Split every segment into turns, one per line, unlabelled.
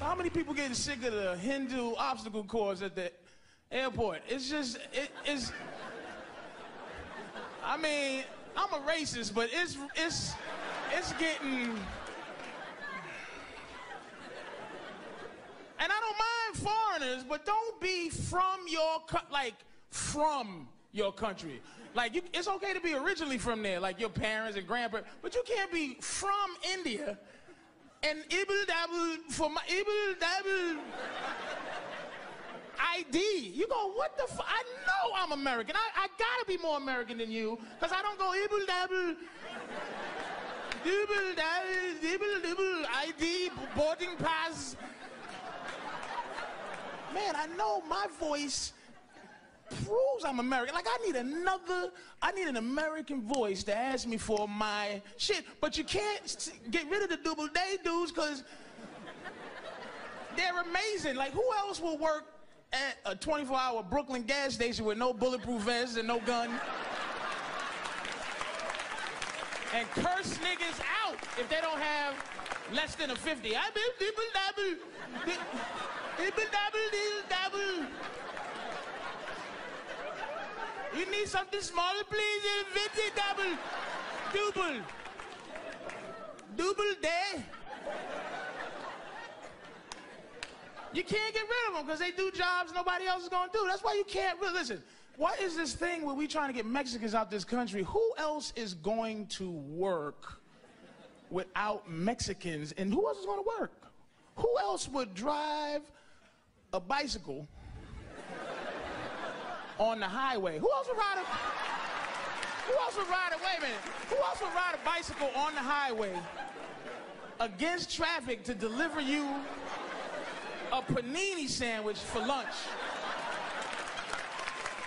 how many people getting sick of the Hindu obstacle course at the airport? It's just, it, it's. I mean, I'm a racist, but it's, it's, it's getting. And I don't mind foreigners, but don't be from your co- like from your country. Like you, it's okay to be originally from there, like your parents and grandparents, but you can't be from India and ibble dabble for my ibble dabble ID. You go, what the fu I know I'm American. I, I gotta be more American than you, cause I don't go ibble dabble. Dibble, dabble, dibble, dibble, ID, boarding pass. Man, I know my voice proves I'm American. Like I need another, I need an American voice to ask me for my shit. But you can't s- get rid of the double day dudes because they're amazing. Like who else will work at a 24-hour Brooklyn gas station with no bulletproof vests and no gun? and curse niggas out if they don't have less than a 50. I been dibble dabble. di- Dibble dabble, dibble dabble. You need something smaller, please? Fifty double, double, double day. You can't get rid of them because they do jobs nobody else is gonna do. That's why you can't. Really, listen, what is this thing where we trying to get Mexicans out this country? Who else is going to work without Mexicans? And who else is gonna work? Who else would drive a bicycle? on the highway. Who else would ride a Who else would ride a wait a minute? Who else would ride a bicycle on the highway against traffic to deliver you a panini sandwich for lunch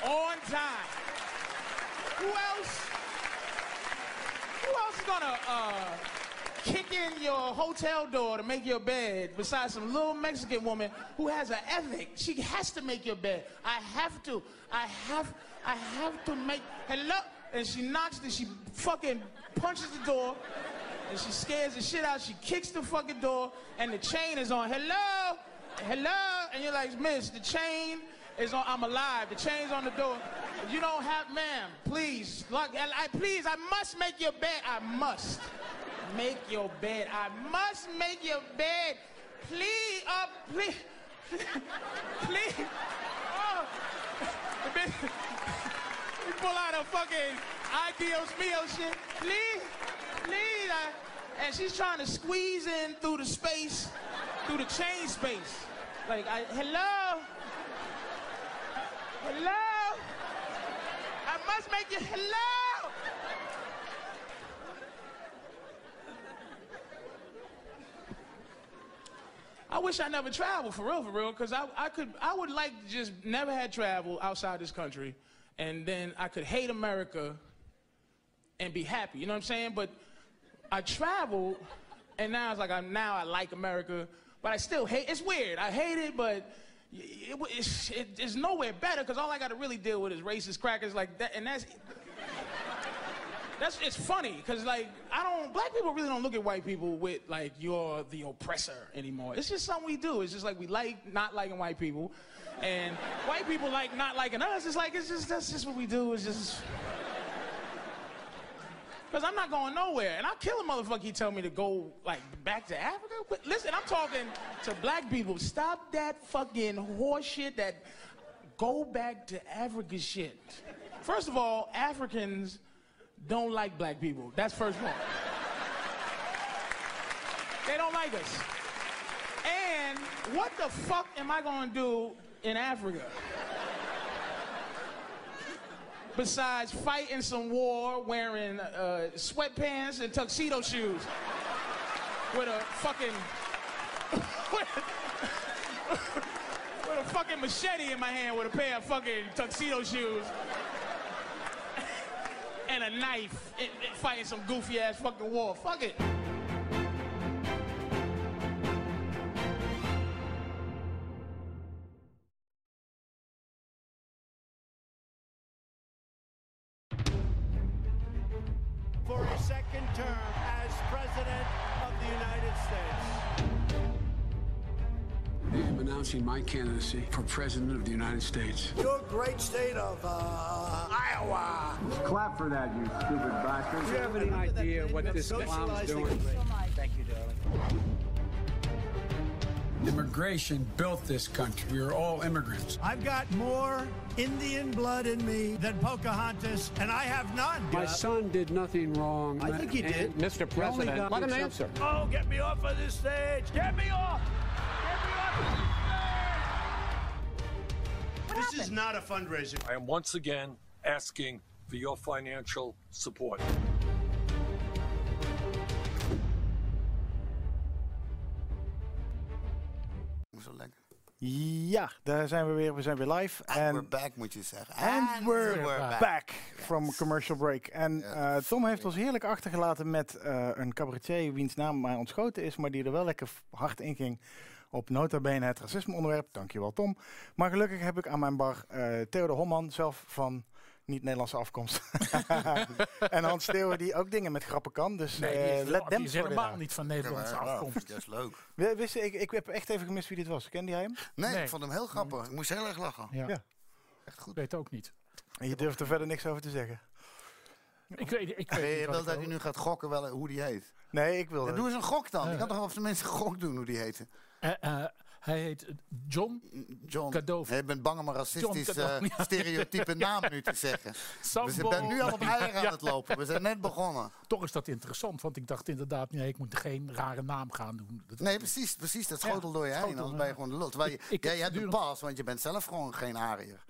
on time? Who else? Who else is gonna uh, kick in your hotel door to make your bed besides some little Mexican woman who has an ethic? She has to make your bed. I have to. I have. I have to make. Hello. And she knocks. And she fucking punches the door. And she scares the shit out. She kicks the fucking door. And the chain is on. Hello. Hello. And you're like, Miss, the chain is on. I'm alive. The chain's on the door. You don't have, ma'am. Please, look. and I please. I must make your bed. I must make your bed. I must make your bed. Please, uh, please, please. Oh, the bitch. We pull out a fucking I Dios mio shit. Please, please. I, and she's trying to squeeze in through the space, through the chain space. Like, I, hello? Hello? I must make you, hello? I wish I never traveled for real, for real, because I, I could, I would like to just never had travel outside this country, and then I could hate America and be happy. You know what I'm saying? But I traveled, and now it's like I'm now I like America, but I still hate. It's weird. I hate it, but y- it, w- it's, it, it's nowhere better because all I got to really deal with is racist crackers like that, and that's that's it's funny because like I don't black people really don't look at white people with like you're the oppressor anymore. It's just something we do. It's just like we like not liking white people, and white people like not liking us. It's like it's just that's just what we do. It's just because I'm not going nowhere, and I'll kill a motherfucker. He tell me to go like back to Africa. But listen, I'm talking to black people. Stop that fucking horseshit. That go back to Africa shit. First of all, Africans don't like black people. That's first of all. they don't like us. And what the fuck am I gonna do in Africa? Besides fighting some war wearing uh, sweatpants and tuxedo shoes with a fucking. with a fucking machete in my hand with a pair of fucking tuxedo shoes and a knife and, and fighting some goofy ass fucking war. Fuck it.
for a second term as President of the United States.
I am announcing my candidacy for President of the United States.
Your great state of uh, Iowa.
Clap for that, you stupid bastard.
Do you have any idea what this clown's doing? Immigration built this country. We are all immigrants.
I've got more Indian blood in me than Pocahontas, and I have none.
My son did nothing wrong.
I think he
And
did.
Mr. President, let him answer.
Oh, get me off of this stage! Get me off! Get me off of this stage! this is not a fundraiser.
I am once again asking for your financial support.
Zo lekker.
Ja, daar zijn we weer. We zijn weer live.
And,
En
we're back, moet je zeggen.
And we're, back,
Yes.
from commercial break. En eh, Tom heeft ons heerlijk achtergelaten met eh, een cabaretier wiens naam mij ontschoten is, maar die er wel lekker f- hard in ging op nota bene het racismeonderwerp. Dankjewel Tom. Maar gelukkig heb ik aan mijn bar eh Theodor Holman, zelf van niet-Nederlandse afkomst. en Hans Theo, die ook dingen met grappen kan. Dus eh, let them
die is
sort it
helemaal
out.
niet van Nederlandse
Ja,
afkomst.
Dat is Oh, leuk.
We- wist je, ik, ik heb echt even gemist wie dit was. Kende jij hem?
Nee,
Nee.
ik vond hem heel grappig. Ik moest heel erg lachen.
Ja.
Ja.
Echt
Ik
goed.
weet ook niet.
En je durft er verder niks over te zeggen.
Ik weet, ik
Wil
weet
je
niet
wel
wat
dat
ik
hij
wil.
nu gaat gokken wel, hoe die heet?
Nee, ik wilde...
Dan doe eens een gok dan. Ik kan toch wel op zijn minst een gok doen hoe die heet.
Eh, eh, hij heet John
John.
Cadeau.
Je bent bang om een racistisch
John Cadeau.
eh, stereotype naam nu te zeggen. We
Sambo.
zijn ben nu al op eieren aan
Ja.
het lopen. We zijn net begonnen.
Toch is dat interessant, want ik dacht inderdaad, nee, ik moet geen rare naam gaan doen. Dat-
Nee, precies. precies dat schotel door je heen.
schotel,
Anders ben je
ja.
gewoon de lul. Terwijl je,
Ik- ik
jij
heb
hebt een
voortdurend-
pas, want je bent zelf gewoon geen Ariër.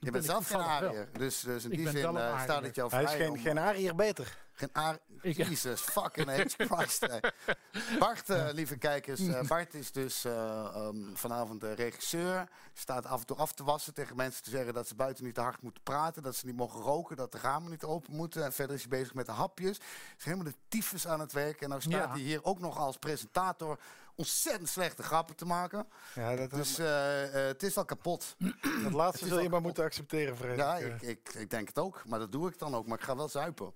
Je bent
ik
zelf geen
toevallig wel.
Ariër. Dus, dus in
Ik
die
ben
zin
wel een
eh, staat
Ariër.
het jou vrij.
Hij is geen,
om-
geen Ariër beter.
Geen aard.
Ik-
Jesus fucking H. Christ. hè. Bart, eh, lieve kijkers. eh, Bart is dus eh, ehm, vanavond de regisseur. Staat af en toe af te wassen tegen mensen te zeggen dat ze buiten niet te hard moeten praten. Dat ze niet mogen roken. Dat de ramen niet open moeten. En verder is hij bezig met de hapjes. Is helemaal de tyfus aan het werk. En nou staat
Ja.
hij hier ook nog als presentator ontzettend slechte grappen te maken.
Ja, dat,
Dus eh, eh, het is al kapot.
dat laatste zul je maar moeten accepteren, vrees
Ja,
ik, eh.
ik, ik, ik denk het ook. Maar dat doe ik dan ook. Maar ik ga wel zuipen.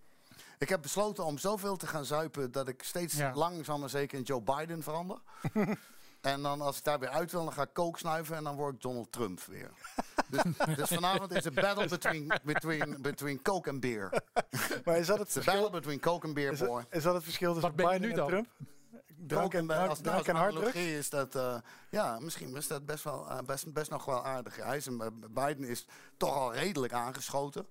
Ik heb besloten om zoveel te gaan zuipen dat ik steeds
Ja.
langzaam maar zeker in Joe Biden verander. en dan als ik daar weer uit wil, dan ga ik coke snuiven en dan word ik Donald Trump weer. dus, dus vanavond is een battle between, between, between coke en beer.
eh. Maar is dat het
It's a
verschil,
battle between coke en beer,
is dat,
boy.
is dat het verschil tussen
Wat ben je
Biden
nu
en
dan?
Trump? Drank en,
Coke
drank,
als-
drank
als
en harddruk?
analogie is dat, eh, ja, misschien is dat best, wel, eh, best, best nog wel aardig. Hij is een, eh, Biden is toch al redelijk aangeschoten.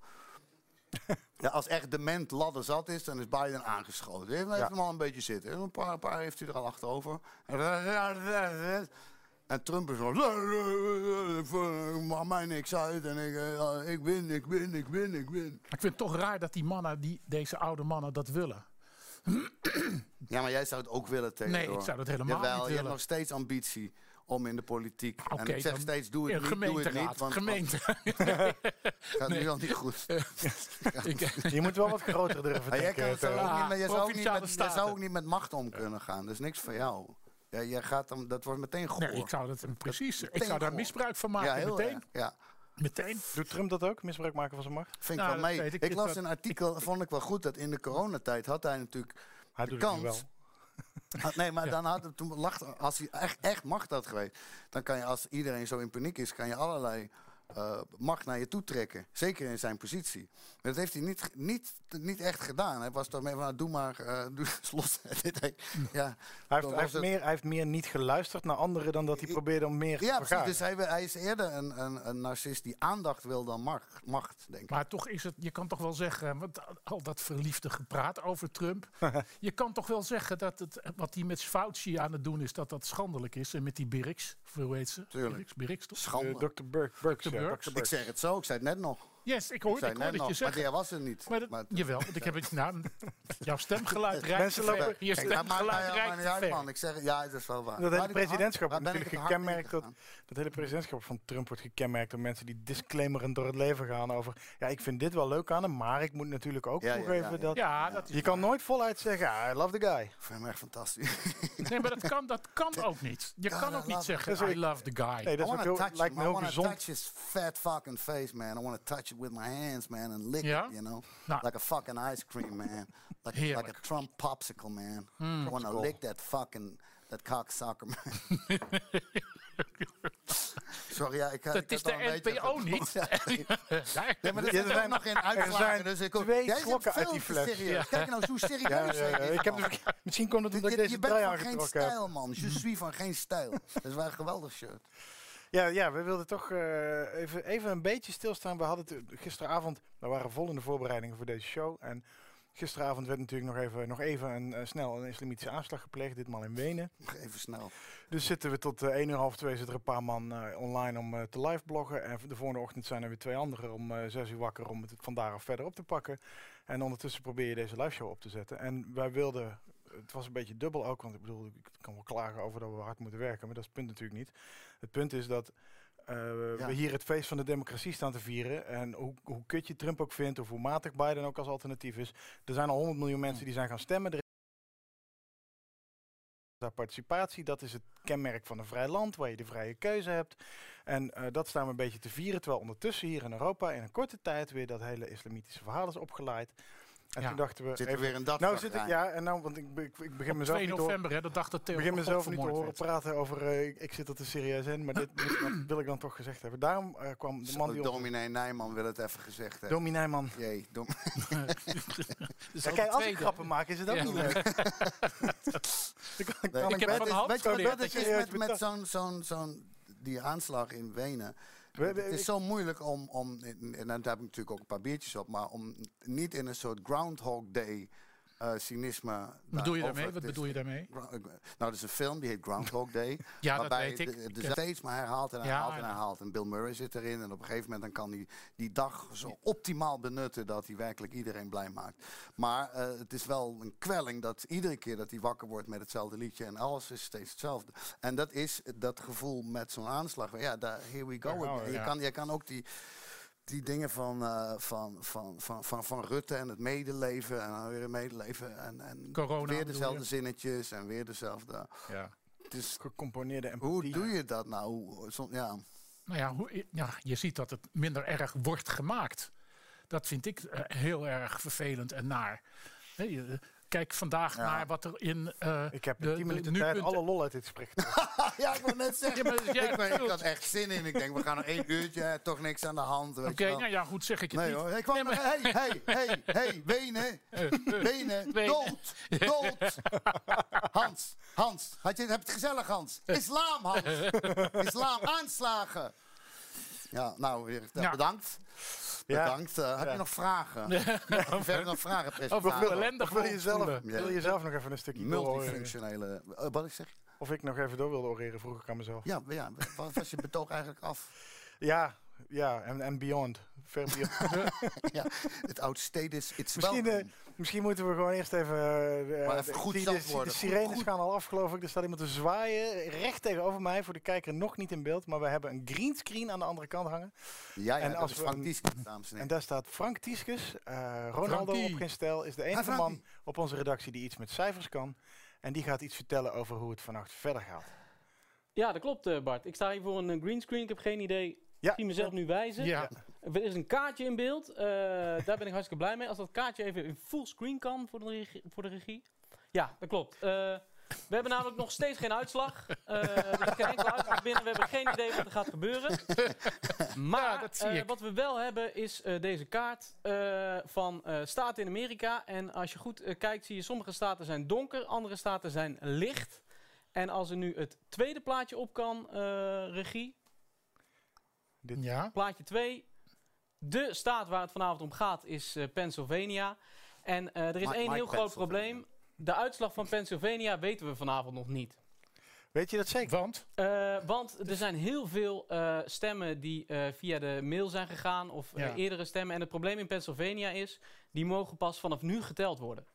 ja, als echt dement ladder zat is, dan is Biden aangeschoten. Hij heeft hem al een beetje zitten. Een paar, een paar heeft hij er al achterover. En Trump is zo... Maakt mij niks uit. En ik, eh, ik win, ik win, ik win, ik win.
Maar ik vind het toch raar dat die mannen, die, deze oude mannen, dat willen.
Ja, maar jij zou het ook willen, tegen.
Nee, ik zou dat helemaal
Jawel,
niet
je hebt
willen.
nog steeds ambitie om in de politiek. en
Oké,
ik zeg
dan
steeds, doe
in
het niet, doe het
gemeenteraad,
niet. Want
gemeente.
het gaat nu al niet goed.
Ik-
Je moet wel wat groter durven
Maar jij, kan
denken. eh.
het ook
Theo.
Ah,
niet, maar jij, zou ook niet
provinciale
met, jij zou
staten.
ook niet met macht om kunnen gaan. Dus niks van jou. Ja, jij gaat dan, dat wordt meteen gehoord.
nee, ik zou dat precies. Ik zou daar
tegenhoor.
misbruik van maken.
ja, heel
meteen.
erg, Ja.
Meteen.
Doet Trump dat ook? Misbruik maken van zijn macht?
Vind
Nou,
ik wel
dat
mee.
weet
Ik,
ik.
ik
Dit
las
zou-
een artikel, vond ik wel goed, dat in de coronatijd had hij natuurlijk
Hij
de
doet het nu
kans.
wel.
Ah, nee, maar dan had het toen lacht, als hij echt, echt macht had geweest, dan kan je als iedereen zo in paniek is, kan je allerlei eh, macht naar je toe trekken. Zeker in zijn positie. Maar dat heeft hij niet, ge- niet, niet echt gedaan. Hij was toch mee van, nou, doe maar, eh doe slot. ja,
Hij
dan
heeft,
was
hij, heeft
het-
meer, hij heeft meer niet geluisterd naar anderen dan dat hij probeerde om meer
Ja,
te
precies.
vergaren.
Dus hij, hij is eerder een, een, een narcist die aandacht wil dan macht, macht denk ik.
Maar toch is het, je kan toch wel zeggen, want al dat verliefde gepraat over Trump. je kan toch wel zeggen dat het, wat hij met Fauci aan het doen is, dat dat schandelijk is. En met die Birks, of hoe heet ze?
Tuurlijk.
Birks, Birks toch?
Schande.
Eh, Dr. Burke. Burks, ja,
Burks.
Dr.
ik
Burks.
zeg het zo, ik zei het net nog. Ik
Yes, ik hoor, ik
zei het
hoor
net
dat je
nog, maar
zegt.
jij was er niet.
Maar dat,
Maar-
jawel, want ik heb het naam. Jouw stemgeluid rijdt
Mensen
te ver.
lopen-
Je
Kijk, dat maakt mij
stemgeluid
helemaal
rijdt
niet
te
uit,
ver.
man. Ik zeg, ja, dat is wel waar.
Dat hele
Waar ben ik hard-
presidentschap
waar
wordt
ben ik
natuurlijk
het hard in
gekenmerkt dat,
gegaan?
dat hele presidentschap van Trump wordt gekenmerkt door mensen die disclaimerend door het leven gaan over ja, ik vind dit wel leuk aan hem, maar ik moet natuurlijk ook
Ja, ja,
toegeven
ja, ja.
dat
Ja, dat
je kan nooit voluit zeggen "Ah, I love the guy.
Ik vind hem echt fantastisch.
is, nee, maar dat kan, dat kan ook niet. Je kan ook niet
laat-
dat is
zeggen,
ook-
I love the guy.
Nee,
I
dat is ook
wanna
heel,
touch
lijkt
him.
me
I
heel
wanna
gezond.
touch his fat fucking face, man. I want to touch it with my hands, man, and lick
Ja?
it, you know,
Nou.
like a fucking ice cream, man, like, like a
Heerlijk. Hmm.
Trump popsicle, man. I want to lick that fucking Dat kakzakker. Sorry, ja, ik, ik
Dat is
had al een
de
beetje-
NPO niet.
Nee, maar er zijn
Er
ook
zijn
nog geen
er
uitslagen.
zijn
Dus ik
twee
Jij zit
klokken uit
veel
die
te
fles.
serieus. Kijk nou hoe serieus
Ja, ja,
jij
ja,
is,
ik heb
man.
de- misschien komt het
Dit-
omdat ik
dit-
deze
je bent
trui
van geen
aangetrokken heb.
stijl, man. Je suis van geen stijl. Dat is wel een geweldig shirt.
Ja, ja, we wilden toch eh, even, even een beetje stilstaan. We hadden het gisteravond, we waren vol in de voorbereidingen voor deze show. En gisteravond werd natuurlijk nog even, nog even een, eh, snel een islamitische aanslag gepleegd, ditmaal in Wenen.
Nog Even snel.
Dus zitten we tot eh 1 uur, half 2 zitten er een paar man eh, online om eh, te live bloggen. En de volgende ochtend zijn er weer twee anderen om eh 6 uur wakker om het van daaraf verder op te pakken. En ondertussen probeer je deze live show op te zetten. En wij wilden, het was een beetje dubbel ook, want ik bedoel, ik kan wel klagen over dat we hard moeten werken, maar dat is het punt natuurlijk niet. Het punt is dat eh,
Ja.
we hier het feest van de democratie staan te vieren. En hoe, hoe kut je Trump ook vindt, of hoe matig Biden ook als alternatief is. Er zijn al 100 miljoen mensen die zijn gaan stemmen. Er daar participatie, dat is het kenmerk van een vrij land waar je de vrije keuze hebt. En eh, dat staan we een beetje te vieren. Terwijl ondertussen hier in Europa in een korte tijd weer dat hele islamitische verhaal is opgelaaid. En
Ja.
toen dachten we.
Zit er weer een dag
nou zit ik, ja, en nou, want ik, be- ik, ik begin mezelf
2
niet te horen-
november, hè, dat dacht dat Theo
ik begin
van God
mezelf niet te
vermoord
horen
werd.
praten over. eh, ik, ik zit er te serieus in, maar dit moet- dat wil ik dan toch gezegd hebben. Daarom eh, kwam de man die. ons-
Dominee Nijman wil het even gezegd hebben.
Dominee man.
Jee, dom-
Dus
Ja,
al
kijk,
de
als ik
tweede.
grappen maak, is het ook
Ja.
niet leuk. Dan kan- kan
Ik
ik
heb
best-
van Hans
weet je wat
geleerd
dat
Het is
serieus
met, met
betaalt?
zo'n, zo'n, zo'n, die aanslag in Wenen.
We- we-
het is
ik-
zo moeilijk om, om, en daar heb ik natuurlijk ook een paar biertjes op, maar om niet in een soort Groundhog Day eh, cynisme.
Wat bedoel je
daarover
daarmee? Wat
te-
bedoel je daarmee?
Gro- eh, Nou, er is een film die heet Groundhog Day.
Ja, dat
waarbij
weet ik.
de-
Ik
de
heb-
steeds maar herhaalt en
Ja,
herhaalt en
ja.
herhaalt. En Bill Murray zit erin. En op een gegeven moment dan kan hij die dag zo optimaal benutten dat hij werkelijk iedereen blij maakt. Maar eh, het is wel een kwelling dat iedere keer dat hij wakker wordt met hetzelfde liedje en alles is steeds hetzelfde. En dat is dat gevoel met zo'n aanslag. Ja, daar, here we go.
Daar gaan we,
again. je,
ja.
kan, je kan ook die die dingen van, eh, van, van, van, van, van Rutte en het medeleven en dan weer het medeleven en, en
Corona, bedoel
weer
je?
dezelfde zinnetjes en weer dezelfde.
Ja.
Dus
Gecomponeerde empathie.
hoe doe je dat nou? Hoe- zo- Ja.
Nou ja, hoe, ja, je ziet dat het minder erg wordt gemaakt. Dat vind ik eh, heel erg vervelend en naar. Hè, je, eh, kijk vandaag naar wat er in. eh,
Ik heb
de-
in 10
de
minuten
nu.nl
tijd alle lol uit dit gesprek getrokken.
ja, ik wil net zeggen.
Ja, maar dus jij-
ik, ben- ik had echt zin in. Ik denk, we gaan nog één uurtje, hè, toch niks aan de hand. Weet
Oké,
je wel.
nou ja, goed zeg ik het
Nee
niet.
hoor, ik kwam
Nee,
nog- hey, hey, hey, hey, Wenen, Wenen,
Wenen.
dood, dood. Hans, Hans, had je, heb je het gezellig Hans? Islam Hans, islam aanslagen. Ja, nou, weer, eh,
Ja.
bedankt.
Ja.
Bedankt. Eh, heb je nog vragen? Heb je nog vragen,
Over
presentator?
ellende
Ah. Of wil je zelf,
voortvoelen.
wil je zelf nog even een stukje doorhoren?
Multifunctionele, eh, wat ik zeg?
Of ik nog even door wilde oreren, vroeg ik aan mezelf.
Ja, ja, wat was je betoog eigenlijk af?
Ja, ja, en en beyond. Ver beyond.
Ja, het oud-stede is, it's
misschien, eh,
welcome.
misschien moeten we gewoon eerst even... eh,
Maar
eh,
even goed
die-
zat
die- de,
worden. Goed,
sirenes
goed.
gaan al af, geloof ik. Er staat iemand te zwaaien, recht tegenover mij. Voor de kijker nog niet in beeld, maar we hebben een greenscreen aan de andere kant hangen.
Ja, ja,
eh, en
en
als
als
we
Frank
een-
Dieske, dames en
En
heren.
daar staat Frank Tieskus. eh, Ronaldo
Frankie.
op geen stijl is de enige
Frankie.
man op onze redactie die iets met cijfers kan. En die gaat iets vertellen over hoe het vannacht verder gaat.
Ja, dat klopt, eh, Bart. Ik sta hier voor een eh, greenscreen. Ik heb geen idee.
Ja,
Ik zie mezelf nu wijzen.
Ja.
Er is een kaartje in beeld. Eh, daar ben ik hartstikke blij mee. Als dat kaartje even in fullscreen kan voor de regie. Voor de regie. Ja, dat klopt. Eh, we hebben namelijk nog steeds geen uitslag. Eh, er is geen enkele uitslag binnen. We hebben geen idee wat er gaat gebeuren. Maar
Ja, dat zie
eh,
ik.
wat we wel hebben is eh, deze kaart eh, van eh, staten in Amerika. En als je goed eh, kijkt zie je sommige staten zijn donker, andere staten zijn licht. En als er nu het tweede plaatje op kan, eh, regie,
Ja.
plaatje 2. De staat waar het vanavond om gaat is eh, Pennsylvania. En eh, er is
My-
één
my
heel groot
Pennsylvania.
probleem. De uitslag van Pennsylvania weten we vanavond nog niet.
Weet je dat zeker?
Want
Eh, want er
Dus-
zijn heel veel eh, stemmen die eh, via de mail zijn gegaan of eh,
Ja.
eerdere stemmen. En het probleem in Pennsylvania is, die mogen pas vanaf nu geteld worden.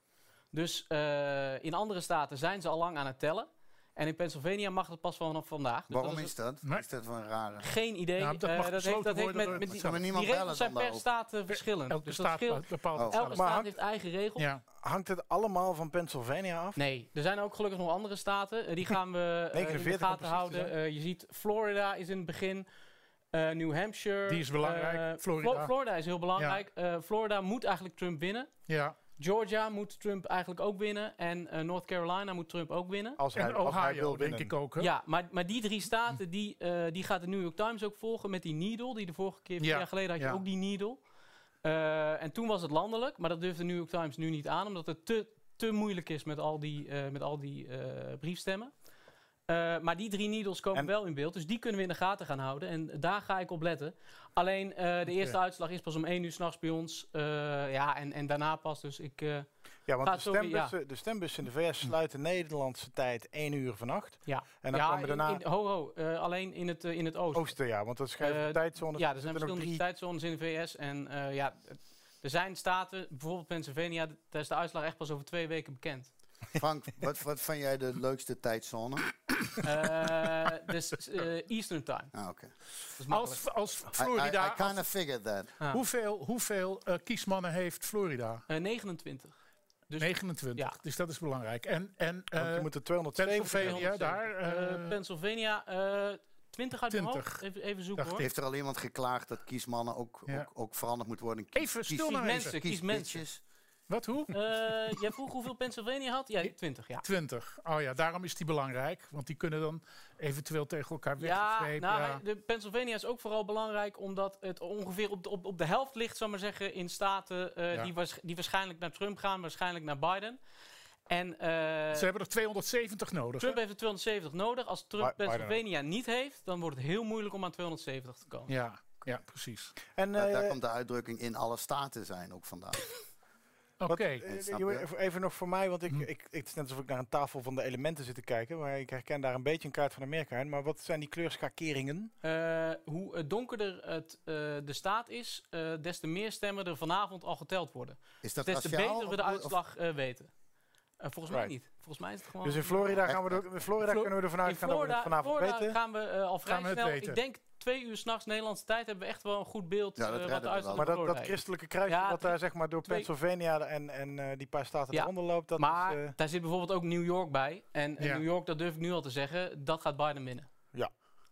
Dus eh, in andere staten zijn ze al lang aan het tellen. En in Pennsylvania mag het pas vanaf vandaag. Dus
Waarom
dat
is dat?
Nee.
Is dat van een rare...
Geen idee.
Ja, dat
Eh,
mag
heeft,
besloten
dat heeft
worden
met,
door-
met
Met
die,
z'n
allen.
die
Maar niemand
regels
bellen
zijn
dan
per
daarop.
staat eh, verschillend.
elke
dus dat
staat
scheelt.
bepaalt bepaalt
Oh.
het
Elke
zelf.
Maar
staat
hangt-
heeft eigen regels.
Ja.
Hangt het allemaal van Pennsylvania af?
Nee, er zijn ook gelukkig nog andere staten. Eh, die gaan we eh, in
49
de
om
gaten
precies te
houden.
zijn.
Eh, je ziet Florida is in het begin. eh, New Hampshire.
Die is belangrijk.
eh, Flo-
Florida.
Florida is heel belangrijk. Eh, Florida moet eigenlijk Trump winnen.
ja.
Georgia moet Trump eigenlijk ook winnen. En eh, North Carolina moet Trump ook winnen.
Als Dus hij,
En
als hij
Ohio,
wil
denk
winnen.
ik ook. Hè?
Ja, maar, maar die drie
Mm.
staten, die, eh, die gaat de New York Times ook volgen met die needle. Die de vorige keer, vier
Ja,
jaar geleden, had je
ja.
ook die needle. Eh, en toen was het landelijk, maar dat durft de New York Times nu niet aan, omdat het te, te moeilijk is met al die, eh, met al die eh, briefstemmen. Eh, maar die drie needles komen
En-
wel in beeld, dus die kunnen we in de gaten gaan houden. En daar ga ik op letten. Alleen eh, de eerste uitslag is pas om één uur s'nachts bij ons. Eh, ja, en, en daarna pas. Dus ik. eh,
Ja, want
Ah,
de,
sorry,
stembussen, de stembussen in de VS sluiten Nederlandse tijd 1 uur vannacht.
ja.
En dan
ja,
komen
in-
daarna
in- ho, ho. eh, alleen in het, eh, in het oosten.
oosten, ja. Want dat schrijft de
Eh,
tijdzone.
Ja, er zijn
nog
verschillende tijdzones in de VS. En eh, ja, het- er zijn staten, bijvoorbeeld Pennsylvania, d- daar is de uitslag echt pas over twee weken bekend.
Frank, wat, wat vind jij de leukste tijdzone?
Eh, dus eh, Eastern Time.
Ah, oké.
Dat is makkelijk.
Als, als
I, I,
Florida.
I kind of figured that.
Ah.
Hoeveel, hoeveel eh, kiesmannen heeft Florida?
Eh, 29. Dus
29.
ja.
Dus dat is belangrijk. En, en
Want je
eh,
moet er 207
Pennsylvania daar.
Eh,
eh,
Pennsylvania, eh 20 uit
20.
mijn hoofd. Even, even zoeken hoor.
Heeft er al iemand geklaagd dat kiesmannen ook,
Ja.
ook, ook veranderd moet worden? in Kies,
even stil
kies
naar
mensen.
even.
nou kies mensen.
bitches?
Wat, hoe?
Eh, jij vroeg hoeveel Pennsylvania had? Ja, 20, ja.
20. Oh ja, daarom is die belangrijk. Want die kunnen dan eventueel tegen elkaar
Ja,
weggeslepen.
nou,
ja.
de Pennsylvania is ook vooral belangrijk omdat het ongeveer op de, op, op de helft ligt, zou maar zeggen, in staten eh,
Ja.
die, waars- die waarschijnlijk naar Trump gaan, waarschijnlijk naar Biden. En eh,
Ze hebben er 270 nodig.
Trump heeft er 270 nodig. Als Trump
Bi- Biden ook.
Pennsylvania niet heeft, dan wordt het heel moeilijk om aan 270 te komen.
Ja, ja, precies.
En
Nou,
eh,
daar komt de uitdrukking in alle staten zijn ook vandaan.
Oké.
Wat- eh,
snap
jongen,
je?
even- Even nog voor mij,
Hm.
want ik, ik, het is net alsof ik naar een tafel van de elementen zit te kijken. Maar ik herken daar een beetje een kaart van Amerika in. Maar wat zijn die kleurschakeringen?
Eh, hoe eh, donkerder het, eh, de staat is, eh, des te meer stemmen er vanavond al geteld worden.
Is dat
Des te
raciaal
beter we de
of- of-
uitslag eh, weten. Eh, volgens
Right.
mij niet. Volgens mij is het gewoon.
Dus in Florida, gaan we
Echt?
er- in Florida
Flo-
kunnen we ervan
Oh, In
uitgaan dat we het
Florida,
vanavond
Florida
weten.
gaan we eh, al vrij
Gaan we het
snel.
weten.
Ik denk twee uur s'nachts Nederlandse tijd hebben we echt wel een goed beeld.
Ja, dat
eh,
redden
wat
we
de uitslag
Maar
wel.
van
dat, dat
Florida is.
christelijke kruisje
Ja,
wat daar zeg maar door
twee-
Pennsylvania en, en eh, die paar staten
Ja.
eronder loopt, dat
maar
is... eh,
daar zit bijvoorbeeld ook New York bij. En eh,
Ja.
New York, dat durf ik nu al te zeggen, dat gaat Biden winnen.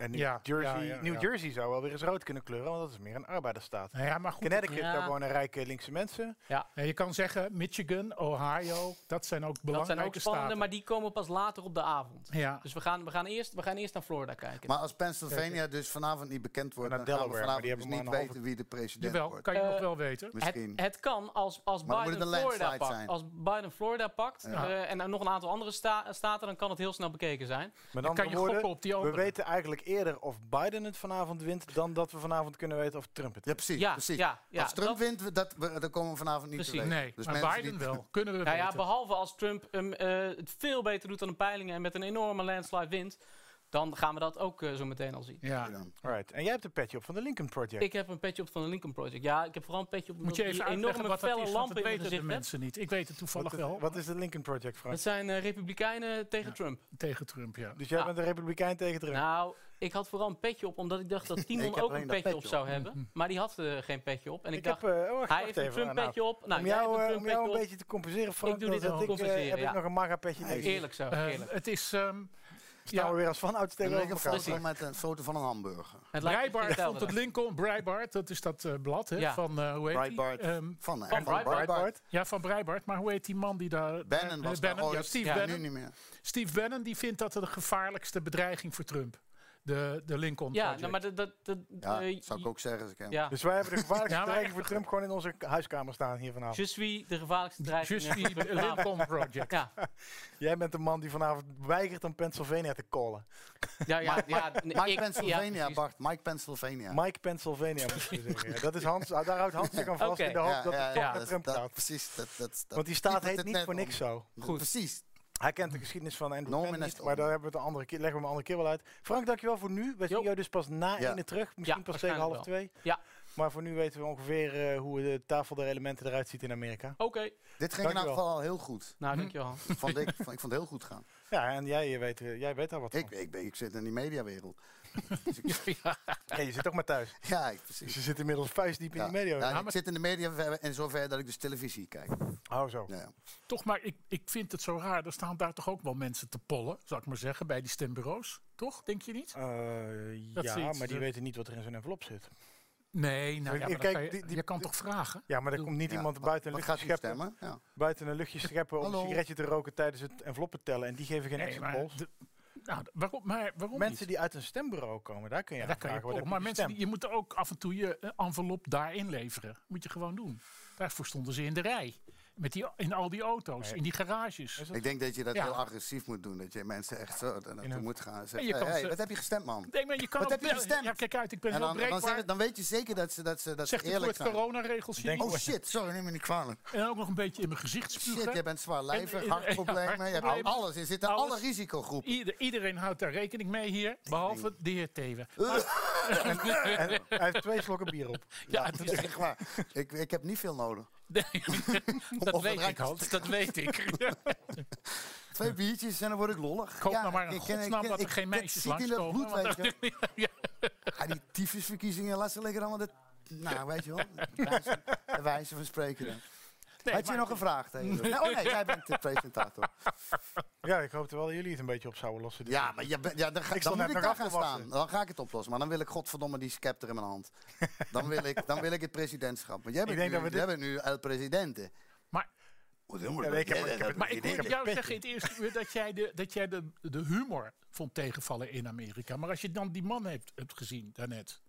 en New,
Ja,
Jersey,
ja, ja,
New
ja.
Jersey zou wel weer eens rood kunnen kleuren, want dat is meer een arbeidersstaat.
Nou ja, maar goed.
Connecticut,
Ja.
daar wonen rijke linkse mensen.
eh, je kan zeggen Michigan, Ohio, dat zijn ook belangrijke
Dat zijn ook spannende,
staten.
maar die komen pas later op de avond.
Ja,
Dus we gaan, we, gaan eerst, we gaan eerst naar Florida kijken.
Maar als Pennsylvania dus vanavond niet bekend wordt,
En
dan
eh, naar
gaan we
Delaware, maar
vanavond
die
dus
hebben
niet
maar een halve-
weten wie de president
jawel,
wordt.
kan je
Eh,
nog wel weten.
Misschien.
Het, het kan als, als,
Maar dan
Biden
moet het een
Florida
landslide
pakt,
zijn.
als Biden Florida pakt
Ja.
eh, en dan nog een aantal andere sta- staten, dan kan het heel snel bekeken zijn.
Met
Dan kan
andere
je
woorden,
gokken op die
we
andere.
weten eigenlijk eerder of Biden het vanavond wint, dan dat we vanavond kunnen weten of Trump het
Ja,
wint.
precies.
ja,
precies.
ja, ja,
als Trump
dat-
wint, we- dat, we, dat komen we vanavond niet te
Precies.
weten.
Nee,
Dus
maar
mensen
Biden
die-
wel. Kunnen we
Nou ja,
weten.
behalve als Trump hem, eh, het veel beter doet dan de peilingen en met een enorme landslide wint, dan gaan we dat ook eh, zo meteen al zien.
ja.
Alright. En jij hebt een petje op van de Lincoln Project.
Ik heb een petje op van de Lincoln Project. Ja, ik heb vooral een petje op
Moet je even
die
uitleggen
enorme
wat dat
felle
is, want dat
lampen in mijn
weten de
gezicht heb.
mensen niet. Ik weet het toevallig
wat,
wel
wat is de Lincoln Project, Frank?
Dat zijn eh, republikeinen tegen Trump.
tegen Trump, ja.
Dus jij
Ah.
bent een republikein tegen Trump.
Nou, ik had vooral een petje op, omdat ik dacht dat Timon
Ik heb
ook
alleen
een
dat
petje, op
petje
zou hebben. Maar die had eh, geen petje op. En ik,
ik
dacht,
heb, eh, oh, wacht, wacht
hij heeft een
even,
Trump
Arnaud.
petje op. Nou,
om
jij
jou,
hebt een
eh,
Trump
om jou
petje
een
op.
beetje te compenseren, Frank,
doe dit
dan
om
zet
te
ik, eh,
compenseren,
heb
ja.
ik nog een MAGA-petje tegen. Dan
Eerlijk zo,
Eh,
eerlijk.
het is... ehm
staan we
ja,
weer als van ouds
Er
tegen
ligt een
elkaar.
foto met een foto van een hamburger.
Het lijkt me geen
Breitbart
telder.
vond het Lincoln. Breitbart, dat is dat eh, blad hè,
Ja.
van... eh, hoe heet die?
Breitbart.
Ehm,
Van, hè,
Van Breitbart.
Breitbart.
ja, van Breitbart. Maar hoe heet die man die daar...
Bannon
eh,
was
Bannon,
daar ooit.
ja, Steve
Ja.
Nu
Bannon.
niet meer.
Steve Bannon die vindt dat de gevaarlijkste bedreiging voor Trump. De, de Lincoln
Ja,
Project.
nou, maar dat... dat, dat
Ja,
eh,
zou ik ook zeggen als ik hem...
Ja.
Dus wij hebben de gevaarlijkste
Ja, maar
dreiging voor Trump gewoon in onze huiskamer staan hier vanavond.
Je suis de gevaarlijkste dreiging.
Just die Lincoln Project.
Ja,
Jij bent de man die vanavond weigert om Pennsylvania te callen.
ja, ja. ja, nee,
Mike
Dus ik- ja,
Pennsylvania,
precies.
Bart. Mike Pennsylvania.
Mike Pennsylvania moet je zeggen. Ja, Dat is Hans, daar houdt Hans zich aan vast
Oké.
in de hoop
Ja,
dat
ja,
het
ja,
toch naar
dat-
Trump
dat-
gaat.
Precies. Dat, dat, dat-
Want die
hier
staat
moet
heet
het
niet
net
voor
om.
niks zo.
Goed.
Precies.
Hij kent de geschiedenis van Andrew
Nomen
Penn
est
niet,
omen.
maar daar hebben we het een andere keer, leggen we hem een andere keer wel uit. Frank, dankjewel voor nu. We zien
Jo.
jou dus pas na
Ja.
ene terug. Misschien pas tegen half
waarschijnlijk
twee.
Ja.
Maar voor nu weten we ongeveer eh, hoe de tafel der elementen eruit ziet in Amerika.
Oké.
Dit ging in elk
Dankjewel.
geval al heel goed.
Mhm.
Nou, dankjewel. Hans.
Vond ik, vond, ik vond het heel goed gaan.
Ja, en jij, eh, weet, eh, jij weet daar wat
Ik,
van.
ik, ben- ik zit in die mediawereld. Dus ik-
Ja, je zit ook maar thuis.
ja, ik, precies.
Dus je zit inmiddels vuistdiep
Ja.
in de media.
Ja,
Ja,
ik
maar-
zit in de media in zover dat ik dus televisie kijk.
Oh zo.
Ja, ja.
Toch, maar ik, ik vind het zo raar. Er staan daar toch ook wel mensen te pollen, zou ik maar zeggen, bij die stembureaus. Toch? Denk je niet?
Eh,
Dat
ja,
is iets,
maar die
eh.
weten niet wat er in zo'n envelop zit.
Nee, nou ja,
Ik
maar
kijk,
dat kan je,
die- die-
je kan toch vragen?
Ja, maar er komt niet
Ja,
iemand
wat-
buiten een
wat
luchtje
gaat u
scheppen,
stemmen? Ja.
buiten een luchtje scheppen om een
Hallo.
sigaretje te roken tijdens het enveloppen tellen. En die geven geen
Nee,
extra
maar,
pols.
de- nou, waarom, maar waarom
Mensen
niet?
die uit een stembureau komen, daar kun je
Ja,
aan
dat kan je
vragen, wat
ook.
heb
Maar mensen, die,
gestemd?
je moet ook af en toe je eh, envelop daarin leveren. Moet je gewoon doen. Daarvoor stonden ze in de rij. Met die, in al die auto's, in die garages.
Ik denk dat je dat
Ja.
heel agressief moet doen. Dat je mensen echt zo daar naartoe
hun-
moet gaan. en
En
Zeggen,
je kan
hey,
ze-
wat heb je gestemd, man?
Nee, maar je kan
Wat
ook
heb je
wel-
gestemd?
Ja, kijk uit, ik ben
En
heel
dan, dan,
breekbaar.
zeggen- dan weet je zeker dat ze, dat ze, dat ze
Zegt het
eerlijk
woord
zijn.
coronaregels hier
Denk-
niet.
Oh shit, sorry, neem me niet kwalijk.
En ook nog een beetje in mijn gezicht spugen.
Shit, jij bent
En-
zwaarlijvig,
en-
hartproblemen, je hebt
hartproblemen.
alles. Je zit in
Alles.
alle risicogroepen.
Ieder- iedereen houdt daar rekening mee hier, behalve de heer Teven.
Eh.
En hij heeft twee slokken bier op.
Ja,
Dat is echt waar. Ik, ik heb niet veel nodig.
Nee, dat
Of
weet
het
ik, Hans. Dat weet ik.
Twee biertjes en dan word ik lollig.
Koop
Ja,
nou maar een
ik ken- ik
godsnaam
ken-
dat er
ik-
geen
dat
meisjes
zit in dat
langskomen.
bloed,
want
weet
dat- ja,
Ah, die tyfusverkiezingen, laat ze lekker allemaal dat... Nou, weet je wel. Wijze, wijze van spreken dan.
nee,
Had je
maar-
nog een vraag tegen hem? Oh nee, jij bent de presentator.
Ja, ik hoopte wel dat jullie het een beetje op zouden lossen. dit
Ja, maar je bent- ja, dan, ga,
Ik
dan
stond
moet
net
ik
nog
daar gaan
afgewassen.
staan. Dan ga ik het oplossen. Maar dan wil ik godverdomme die scepter in mijn hand. Dan wil ik, dan wil ik het presidentschap. Want jij bent
denk
nu,
dat we
jij bent nu el presidente.
Maar-
Ja, ik heb- ik heb het-
Maar ik hoorde
een
jou
petje.
zeggen in het eerste uur dat jij, de, dat jij de, de humor vond tegenvallen in Amerika. Maar als je dan die man hebt, hebt gezien daarnet,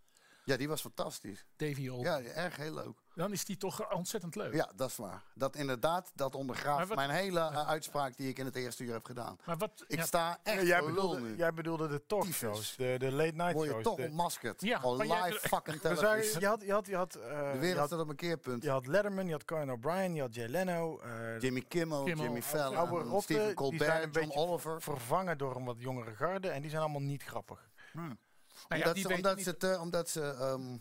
Ja, die was fantastisch.
Davy Old,
Ja, erg heel leuk.
dan is die toch ontzettend leuk.
Ja, dat is waar. Dat inderdaad, dat
Maar
ondergraaft
wat-
mijn hele eh, uitspraak die ik in het eerste uur heb gedaan.
Maar wat,
Ik
ja,
sta echt
jij,
voor lul
bedoelde,
nu.
jij bedoelde de talkshows,
Tyfus.
de, de late night
Word je
shows.
toch
de-
ontmaskerd.
Ja,
Gewoon
maar jij-
live fucking
We zouden-
televisie.
je had, je had, je had, eh,
De
je
wereld
had,
staat op een keerpunt.
je had Letterman, je had Conan O'Brien, je had Jay Leno. eh,
Jimmy Kimmel,
Kimmel,
Jimmy
oude
Fallon,
rotten,
Stephen
die zijn een
Colbert, John
beetje
Oliver.
vervangen door een wat jongere garde en die zijn allemaal niet grappig.
nou ja,
omdat,
die
ze,
weet
omdat,
niet-
ze te- omdat ze. ehm,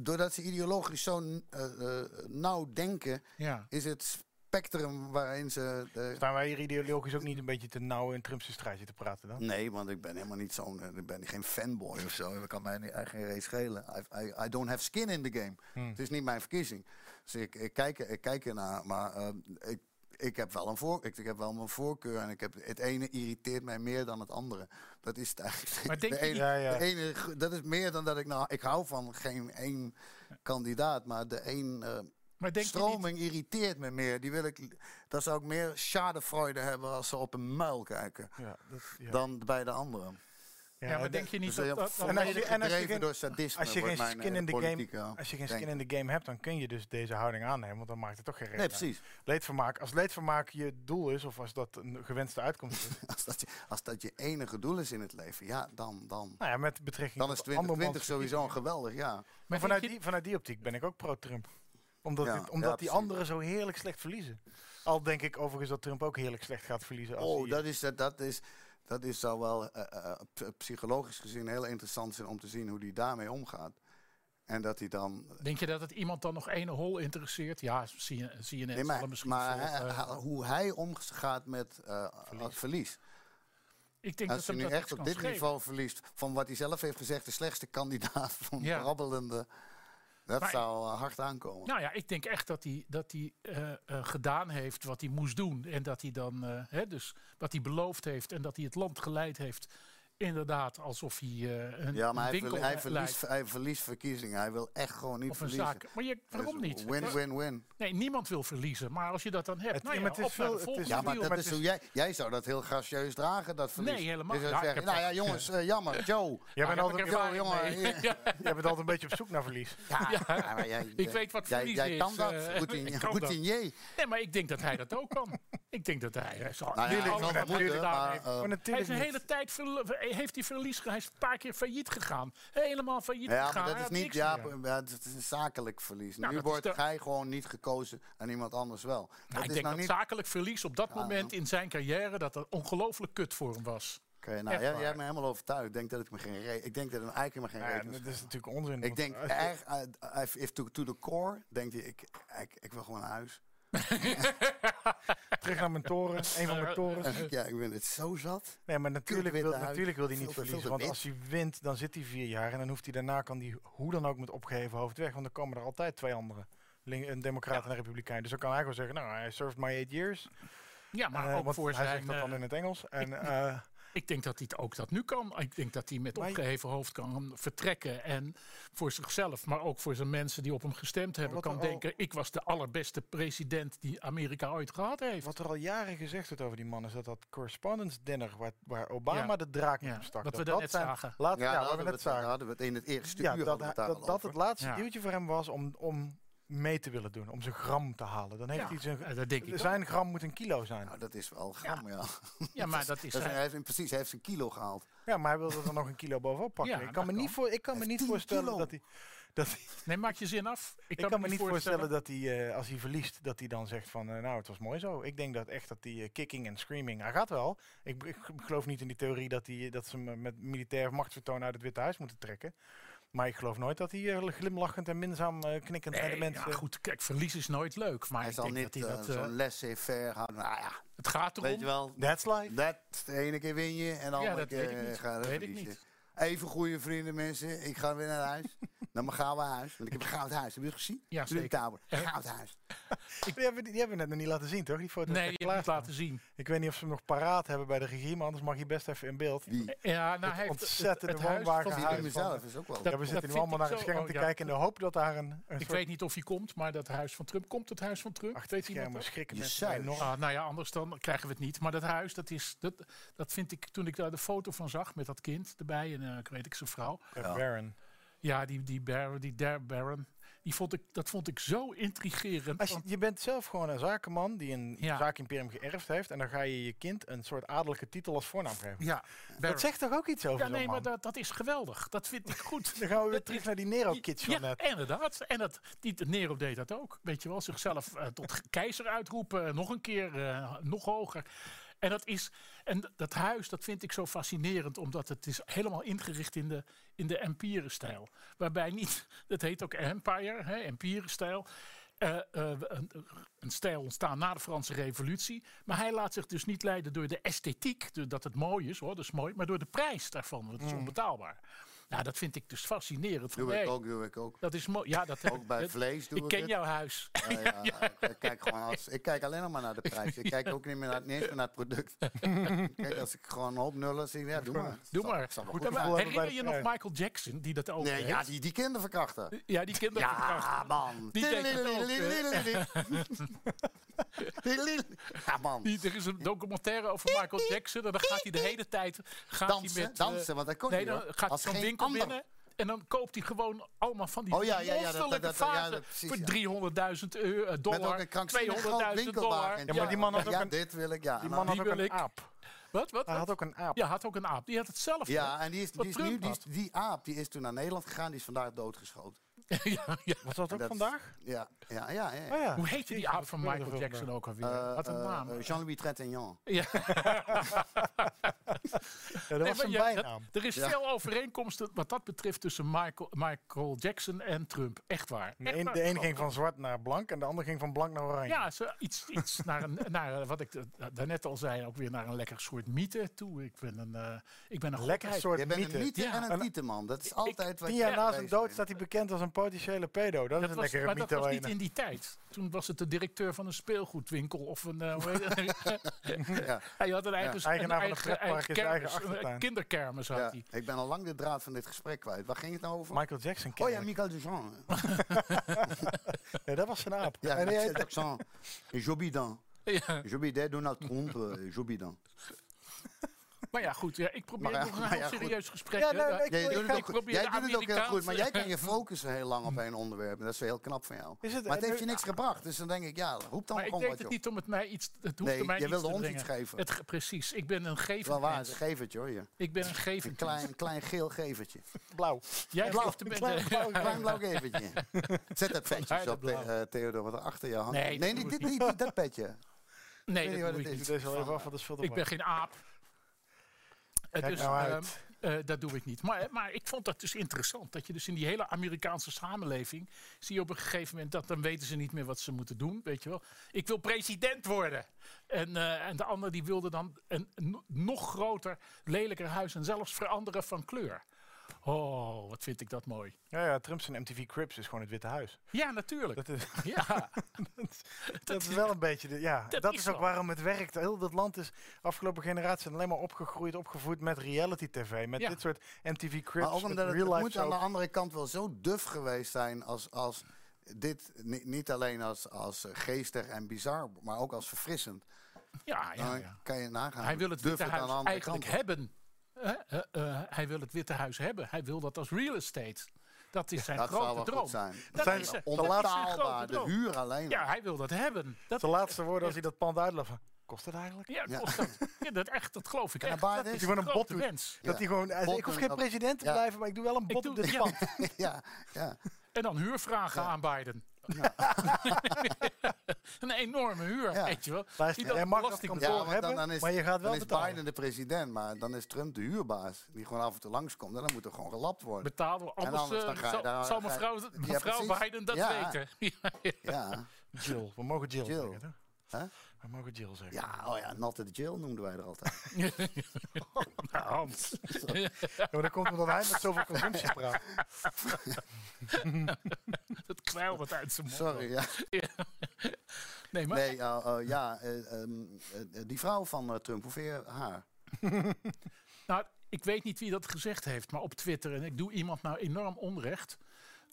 doordat ze ideologisch zo eh, eh, nauw denken,
ja.
is het spectrum waarin ze. eh,
Staan wij hier ideologisch ook niet een beetje te nauw in Trumpse strijdje te praten dan?
nee, want ik ben helemaal niet zo'n. eh, ik ben geen fanboy of zo. Dat kan mij niet, eigenlijk geen reet schelen. I, I, I don't have skin in the game.
Hmm.
Het is niet mijn verkiezing. Dus ik, ik, kijk, er- ik kijk ernaar. Maar ehm, ik, ik, heb wel een voor, ik, ik heb wel mijn voorkeur. En ik heb, het ene irriteert mij meer dan het andere. Dat is het eigenlijk.
Maar denk
de
je
ene-
niet-
Ja, ja.
De ene, gro- dat is meer dan dat ik nou. Ik hou van geen één kandidaat, maar de één eh,
Maar denk je niet-
stroming irriteert me meer. Die wil ik. li- Daar zou ik meer schadefreude hebben als ze op een muil kijken
Ja, dat, ja.
dan bij de anderen.
Ja,
ja, maar
dat-
denk je niet
Dus eh,
dat... dat-
voor
dat-
en als
mij
je-
is het
en als je
gedreven
geen-
door sadisme.
als je
wordt
geen
mijn,
skin
eh,
in the
politiek,
game,
eh,
als je geen
denk
skin in de game hebt, dan kun je dus deze houding aannemen, want dan maakt het toch geen reden.
Nee,
uit.
precies.
Leedvermaak, als leedvermaak je doel is, of als dat een gewenste uitkomst is,
Als dat, je, als dat je enige doel is in het leven, ja, dan, dan,
nou ja, met betrekking
dan
tot
is 2020
andermans-
sowieso een geweldig jaar.
maar
Vanuit
denk je-
die, vanuit die optiek ben ik ook pro-Trump. Omdat,
Ja,
dit-
ja,
omdat die
precies.
anderen zo heerlijk slecht verliezen. Al denk ik overigens dat Trump ook heerlijk slecht gaat verliezen. Als
Oh,
hij-
dat is, dat, dat is, dat is zou wel eh, eh, p- psychologisch gezien heel interessant zijn om te zien hoe die daarmee omgaat. En dat hij dan.
Denk je dat het iemand dan nog ene hol interesseert? Ja, zie je, zie je net.
Nee, maar
zullen misschien eh,
maar
volgen.
hij-
eh.
hij- hoe hij omgaat met eh, als verlies.
ik denk
Als
dat
hij
hem
nu
dat
echt
iets
op
kan
dit
schelen.
niveau verliest. van wat hij zelf heeft gezegd, de slechtste kandidaat van
Ja.
brabbelende. Dat
Maar-
zou eh, hard aankomen.
Nou ja, ik denk echt dat hij, dat hij eh, eh, gedaan heeft wat hij moest doen. En dat hij dan, eh, hè, dus wat hij beloofd heeft en dat hij het land geleid heeft. Inderdaad, alsof hij eh, een,
ja, maar
een
hij,
winkel
verli- hij
eh,
verliest,
leidt
hij verliest verkiezingen. Hij wil echt gewoon niet
Of een
verliezen.
zaak. Maar je,
Dus
waarom niet?
Win-win-win.
Nee, niemand wil verliezen. Maar als je dat dan hebt,
Het-
nou
ja,
ja,
maar het is
op naar
wel-
de
het is
volgende
Ja,
Profiel,
maar
deal.
dat
maar
is
het
hoe
is-
jij, jij zou dat heel gracieus dragen, dat verlies.
Nee, helemaal
Je zou
niet. Ja, ik
zeggen,
heb
nou ja, jongens, eh, jammer, Joe.
Jij
Daar
bent,
heb
altijd,
ik ervaring
jongen,
mee.
jongen,
Ja,
jij bent altijd een beetje op zoek naar verlies.
Ja, ja, maar jij,
Ik weet wat
jij,
verlies
jij
is,
kan dat,
eh,
routine-
ik kan dat.
routinier.
Nee, maar ik denk dat hij dat ook kan. ik denk dat hij... eh, zo-
Nou ja,
alles
ik zal
wat hij
dat moeten,
gedaan
maar,
heeft.
eh,
maar
Hij
natuurlijk
heeft de
niet.
hele tijd verl- heeft hij verlies ge- Hij is een paar keer failliet gegaan. Helemaal failliet
ja,
gegaan.
maar dat
Hij
is
had
niet,
niks
ja,
meer.
ja, het is een zakelijk verlies.
Nou,
nu
dat is
wordt
de-
hij gewoon niet gekozen en iemand anders wel.
Nou, ik
is
denk
nou
dat
niet...
zakelijk verlies op dat moment in zijn carrière... dat dat ongelooflijk kut voor hem was.
Oké, nou,
echt
jij,
waar.
jij hebt me helemaal overtuigd. Ik denk dat het me geen re- Ik denk dat het me eigenlijk maar geen
Nou ja,
reet is.
dat is natuurlijk onzin.
Ik
want
denk
als-
erg, eh, if- if to, to the core, denkt hij, ik, ik, ik wil gewoon naar huis.
terug naar mijn toren, een van mijn torens.
ja, ik ben het zo zat.
Nee, maar natuurlijk
witte
wil,
huid,
natuurlijk wil hij
veel
niet
te- veel te
verliezen. Want
wit.
als hij wint, dan zit hij vier jaar. En dan hoeft hij daarna, kan hij hoe dan ook met opgeheven hoofd weg. Want dan komen er altijd twee anderen. Link- een democrat en een republikein. Dus dan kan hij gewoon zeggen, nou, I served my eight years.
Ja, maar
Eh,
ook
want
voor
hij
zijn...
zegt dat dan
eh,
in het Engels. En, eh,
Ik denk dat hij het ook dat nu kan. Ik denk dat hij met
Maar-
opgeheven hoofd kan vertrekken. En voor zichzelf, maar ook voor zijn mensen die op hem gestemd hebben,
wat
kan
er al-
denken: ik was de allerbeste president die Amerika ooit gehad heeft.
Wat er al jaren gezegd wordt over die man is dat dat correspondence dinner waar, waar Obama
Ja.
de draak
Ja,
in stak.
wat we
dat
daar
dat
net
zijn-
zagen.
Laat, ja,
daar
wat we
hadden we
net
het- daar
zagen.
hadden we het in het eerste
Ja,
uur
dat,
hadden
hij-
we het daar
dat,
al
dat
over.
het laatste
Ja.
duwtje voor hem was om, om mee te willen doen. Om zijn gram te halen. Dan heeft
Ja,
hij zijn,
eh, dat denk ik
zijn gram moet een kilo zijn.
Nou, dat is wel gram, ja.
Ja, maar dat is.
Dat is- hij
hij-
heeft, hem- precies, hij heeft zijn kilo gehaald.
Ja, maar hij wilde er nog een kilo bovenop pakken.
Ja,
ik
dat
kan me niet,
kan.
voor, ik kan me niet
heeft 10
voorstellen
kilo.
dat hij... Dat hij
Nee, maak je zin af.
ik kan me niet voorstellen dat hij, eh, als hij verliest, dat hij dan zegt van... eh, nou, het was mooi zo. Ik denk dat echt dat die eh, kicking en screaming... Hij gaat wel. Ik, ik geloof niet in die theorie dat, hij, dat ze hem met militair machtsvertoon uit het Witte Huis moeten trekken. Maar ik geloof nooit dat hij eh, glimlachend en minzaam eh, knikkend bij de
Nee,
mensen...
ja, goed, kijk, verlies is nooit leuk. Maar
Hij
ik
zal
denk
niet
dat hij
eh,
dat. eh,
zo'n laissez-faire houden. Nou ja,
het gaat erom.
weet je wel.
That's life.
Dat de ene keer win je en de andere
dat
keer
weet ik niet.
eh, ga je
Weet ik
verliezen.
niet.
Even goede vrienden, mensen. Ik ga weer naar huis. Dan maar gaan we naar huis. Want ik heb een goud huis. Heb je het gezien?
Ja,
Jullie
zeker.
Tabor. Goud huis.
Die hebben, die hebben we net nog niet laten zien, toch? Die foto
Nee, je hebt het laten zien.
Ik weet niet of ze hem nog paraat hebben bij de regie, maar anders mag je best even in beeld.
Wie?
Ja, nou,
Het
hij heeft
ontzettende
het, het huis
woonwagen
van-
huis.
Die mezelf is ook wel.
Dat-
ja, we zitten
vind
nu allemaal
ik
naar het
zo-
scherm
oh,
te
ja.
kijken in de hoop dat daar een, een
Ik weet niet of hij komt, maar dat huis van Trump. Komt het huis van Trump?
achter het
Weet iemand
scherm
dat?
schrikken
Je
mensen
suis.
enorm.
Ah, nou ja, anders dan krijgen we het niet. Maar dat huis, dat, is, dat, dat vind ik, toen ik daar de foto van zag met dat kind erbij en eh, ik weet ik zijn vrouw.
Ja. Baron.
Ja, die, die Baron, die Dare Baron, die vond ik, dat vond ik zo intrigerend.
Als je,
want-
je bent zelf gewoon een zakenman die een
Ja.
zaakimperium geërfd heeft en dan ga je je kind een soort adellijke titel als voornaam geven.
ja, Baron.
Dat zegt toch ook iets over
ja,
zo'n
nee,
man?
maar dat, dat is geweldig. Dat vind ik goed.
Dan gaan we weer terug naar die Nero-kids van
Ja,
net.
inderdaad. En dat, die, Nero deed dat ook. Weet je wel, zichzelf eh, tot keizer uitroepen. eh, nog een keer, eh, nog hoger. En dat is, en d- dat huis, dat vind ik zo fascinerend, omdat het is helemaal ingericht in de, in de empire-stijl. Waarbij niet, dat heet ook empire, hè, empire-stijl. Eh, eh, een, een stijl ontstaan na de Franse Revolutie. Maar hij laat zich dus niet leiden door de esthetiek, door dat het mooi is, hoor, dat is mooi, maar door de prijs daarvan, want
Hmm.
het is onbetaalbaar. Nou, dat vind ik dus fascinerend. Van,
Doe ik
hey,
ook, doe ik ook.
dat is mooi. Ja, dat
Ook bij
dat-
vlees doe
Ik
ik
ken
het.
jouw huis.
Ja, ja, ik- Ik, kijk gewoon als, ik kijk alleen nog maar naar de prijs. Ik kijk ook niet meer naar, niet eens meer naar het product. Kijk, als ik gewoon een hoop nullen zie, ja, doe maar.
Doe
Zal-
maar.
zal wel
Goed,
goed
maar
gevoel
zijn.
hebben
herinner
bij
je
de
nog
prijs.
Michael Jackson die dat ook
Nee,
heeft?
ja, die, die kinderverkrachten.
Ja, die kinderen.
Ja, man.
Die denkt het ook,
Ja, man.
Die, er is een documentaire over Michael Jackson en dan gaat hij de hele tijd gaat
Dansen,
hij met, eh,
dansen, want dat kon
nee,
niet,
dan
hoor.
gaat hij
Als
zo'n
geen
winkel
ander.
binnen en dan koopt hij gewoon allemaal van die
Oh, ja, ja, ja, dat-
monsterlijke
dat- dat- ja,
vazen
dat- precies,
voor
ja.
300.000 euro, eh,
Met ook
dollar,
een krankzinnig groot
200.000 dollar.
Ja,
winkelwagen.
maar die man had ook
Ja,
een-
dit wil ik, ja.
Die
Nou,
man
die
had ook
wil
een
ik.
aap.
Wat, wat?
Hij
wat?
had ook een aap.
Ja, had ook een aap. Die had het zelf.
Ja,
hè?
en die, is,
Wat
die, is
Trump
nu, die, is-
had.
die aap die is toen naar Nederland gegaan, die is vandaag doodgeschoten.
ja, ja.
Was dat ook
Dat is-
vandaag?
Ja, ja, ja. ja.
Oh ja.
Hoe heette die
Jezus,
aap van
wat gebeurde er
Michael Jackson ook alweer?
Eh,
Had een
eh,
naam.
eh, Jean-Louis Trintignant.
Ja.
vandaag? Ja, dat was zijn
Nee, maar ja,
bijnaam.
dat- er is veel overeenkomsten wat dat betreft tussen Michael, Michael Jackson en Trump. Echt waar.
De
Echt
een,
waar.
de een ging van zwart naar blank en de ander ging van blank naar oranje.
Ja, zo iets, iets naar, een, naar eh, wat ik da- daarnet al zei, ook weer naar een lekker soort mythe toe. Ik ben een, eh, ik ben een
Lekker
godheid.
soort
Je bent
mythe.
een mythe
Ja.
en een tieten, man. Dat is altijd wat
Tien
je
jaar na zijn
bezig
dood
bent.
staat hij bekend als een potentiële pedo. Dat, is
Dat
een
was,
lekkere
maar dat
mythe.
was
waar je
niet in die tijd. Toen was het de directeur van een speelgoedwinkel of een. eh, hoe heet het? Hij had een eigen,
Eigenaar van
een
een pretpark in zijn eigen
kermis, een
achtertuin.
kinderkermis had
Ja,
hij.
ik ben al lang de draad van dit gesprek kwijt. Waar ging het nou over?
Michael Jackson
oh ja,
kennelijk.
Michael Duchamp.
Nee, dat was zijn aap.
Ja,
En die
Michael
heette-
Duchamp. En Joe Biden.
Ja.
Joe Biden, Donald Trump, eh, Joe Biden.
Maar ja, goed, ja, ik probeer
Maar ja,
nog een
maar
heel
ja, nou, goed.
serieus gesprek.
Ja,
hè,
nee,
daar-
nee, ik-
Jij
ik
doet
ga-
het ook goed.
probeer
Jij
de
doet het ook heel goed, maar jij
Amerikaanse-
kan je focussen heel lang op één onderwerp. En dat is heel knap van jou.
Is het-
maar het
en
heeft je
nu-
niks gebracht. Dus dan denk ik, ja, roep dan
eh, Maar ik
gewoon
deed
wat,
het
joh.
niet om het mij iets. Het hoeft
Nee,
mij
jij
iets
wilde
te
ons
brengen.
iets geven.
Het, ge- precies, ik ben een
Het is wel
gevend
waar,
mens.
ze geven het, joh. je.
ik ben een
Een
gevend mens.
klein, klein geel gevertje.
Blauw.
Jij gelooft er
blauw,
met-
blauw,
Klein blauw gevertje. Zet dat petje
Harde
op,
blauw.
eh, Theodor, wat er achter je hangt. Nee,
Nee, dat
niet,
moet
dit,
niet.
niet, niet dat petje.
Nee,
Ik weet niet
dat doe
wat
ik
Ik
het is.
niet.
doe deze wel even af, want dat is veel te
Ik ben
lang.
geen aap. Eh,
Kijk
dus
nou
ehm,
uit.
eh, dat doe ik niet. Maar, maar ik vond dat dus interessant. Dat je dus in die hele Amerikaanse samenleving. zie je op een gegeven moment dat dan weten ze niet meer wat ze moeten doen. Weet je wel. Ik wil president worden. En, eh, en de ander die wilde dan een no- nog groter, lelijker huis. en zelfs veranderen van kleur. Oh, wat vind ik dat mooi.
Ja, ja, Trump's en MTV Crips is gewoon het Witte Huis.
Ja, natuurlijk.
Dat is,
ja,
dat is wel een beetje. De, ja,
dat
dat
is
is ook
zo.
waarom het werkt. Heel dat land is afgelopen generatie alleen maar opgegroeid, opgevoed met reality TV. Met
Ja.
dit soort MTV Crips.
Maar ook
met
omdat het,
real
het
life
moet aan de
soaps.
andere kant wel zo duf geweest zijn als, als dit ni- niet alleen als, als eh, geestig en bizar, maar ook als verfrissend.
ja, ja,
Nou,
Dan
ja.
kan je nagaan.
Hij wil het
duf
Witte
aan de
Huis
andere
eigenlijk
kant op.
hebben. Eh, eh, eh, hij wil het Witte Huis hebben. Hij wil dat als real estate. Dat is zijn
Dat zou wel
grote droom.
goed zijn.
Dat
zijn
is, zijn- dat is zijn grote
Onbetaalbaar, de
droom.
huur alleen.
Ja, hij wil dat hebben. Dat,
De laatste woorden als hij dat pand uitloopt. Kost het eigenlijk?
ja, kost dat. Ja, dat echt, dat geloof ik
En
echt.
een baard
Dat
is-
is
Die
een
gewoon een bot
grote
doet.
wens.
Dat hij gewoon. hij zegt, ik hoef geen
Botten-
president te
Ja.
blijven, maar ik doe wel een
Ik
bot
doe-
op dit
ja.
pand.
ja, ja.
En dan huurvragen aan Biden. een enorme huur,
Ja.
weet je wel.
Luister,
Die dat
jij mag dat
belasting
kantoor
Ja,
betaalt.
want dan, dan is,
maar je gaat wel
dan is
betalen.
Biden de president, maar dan is Trump de huurbaas. Die gewoon af en toe langskomt. En dan moet er gewoon gelapt worden.
betalen. we. Anders,
anders dan
eh,
ga je
zal,
daar-
zal
ga je-
mevrouw,
Ja,
mevrouw
precies.
Biden dat
Ja.
weten. Ja, ja.
Ja.
Jill. We mogen Jill,
Jill.
zeggen, toch?
Hè?
We mogen Jill zeggen.
ja, oh ja, Not the Jill noemden wij er altijd.
Nou, Hans.
Ja, maar dat komt omdat hij met zoveel consumptie praat.
dat kwijl wat uit zijn mond.
Sorry, ja.
Nee, maar
Nee, eh, eh, ja, eh, ehm, eh, eh, die vrouw van eh, Trump, hoeveel haar?
Nou, ik weet niet wie dat gezegd heeft, maar op Twitter, en ik doe iemand nou enorm onrecht.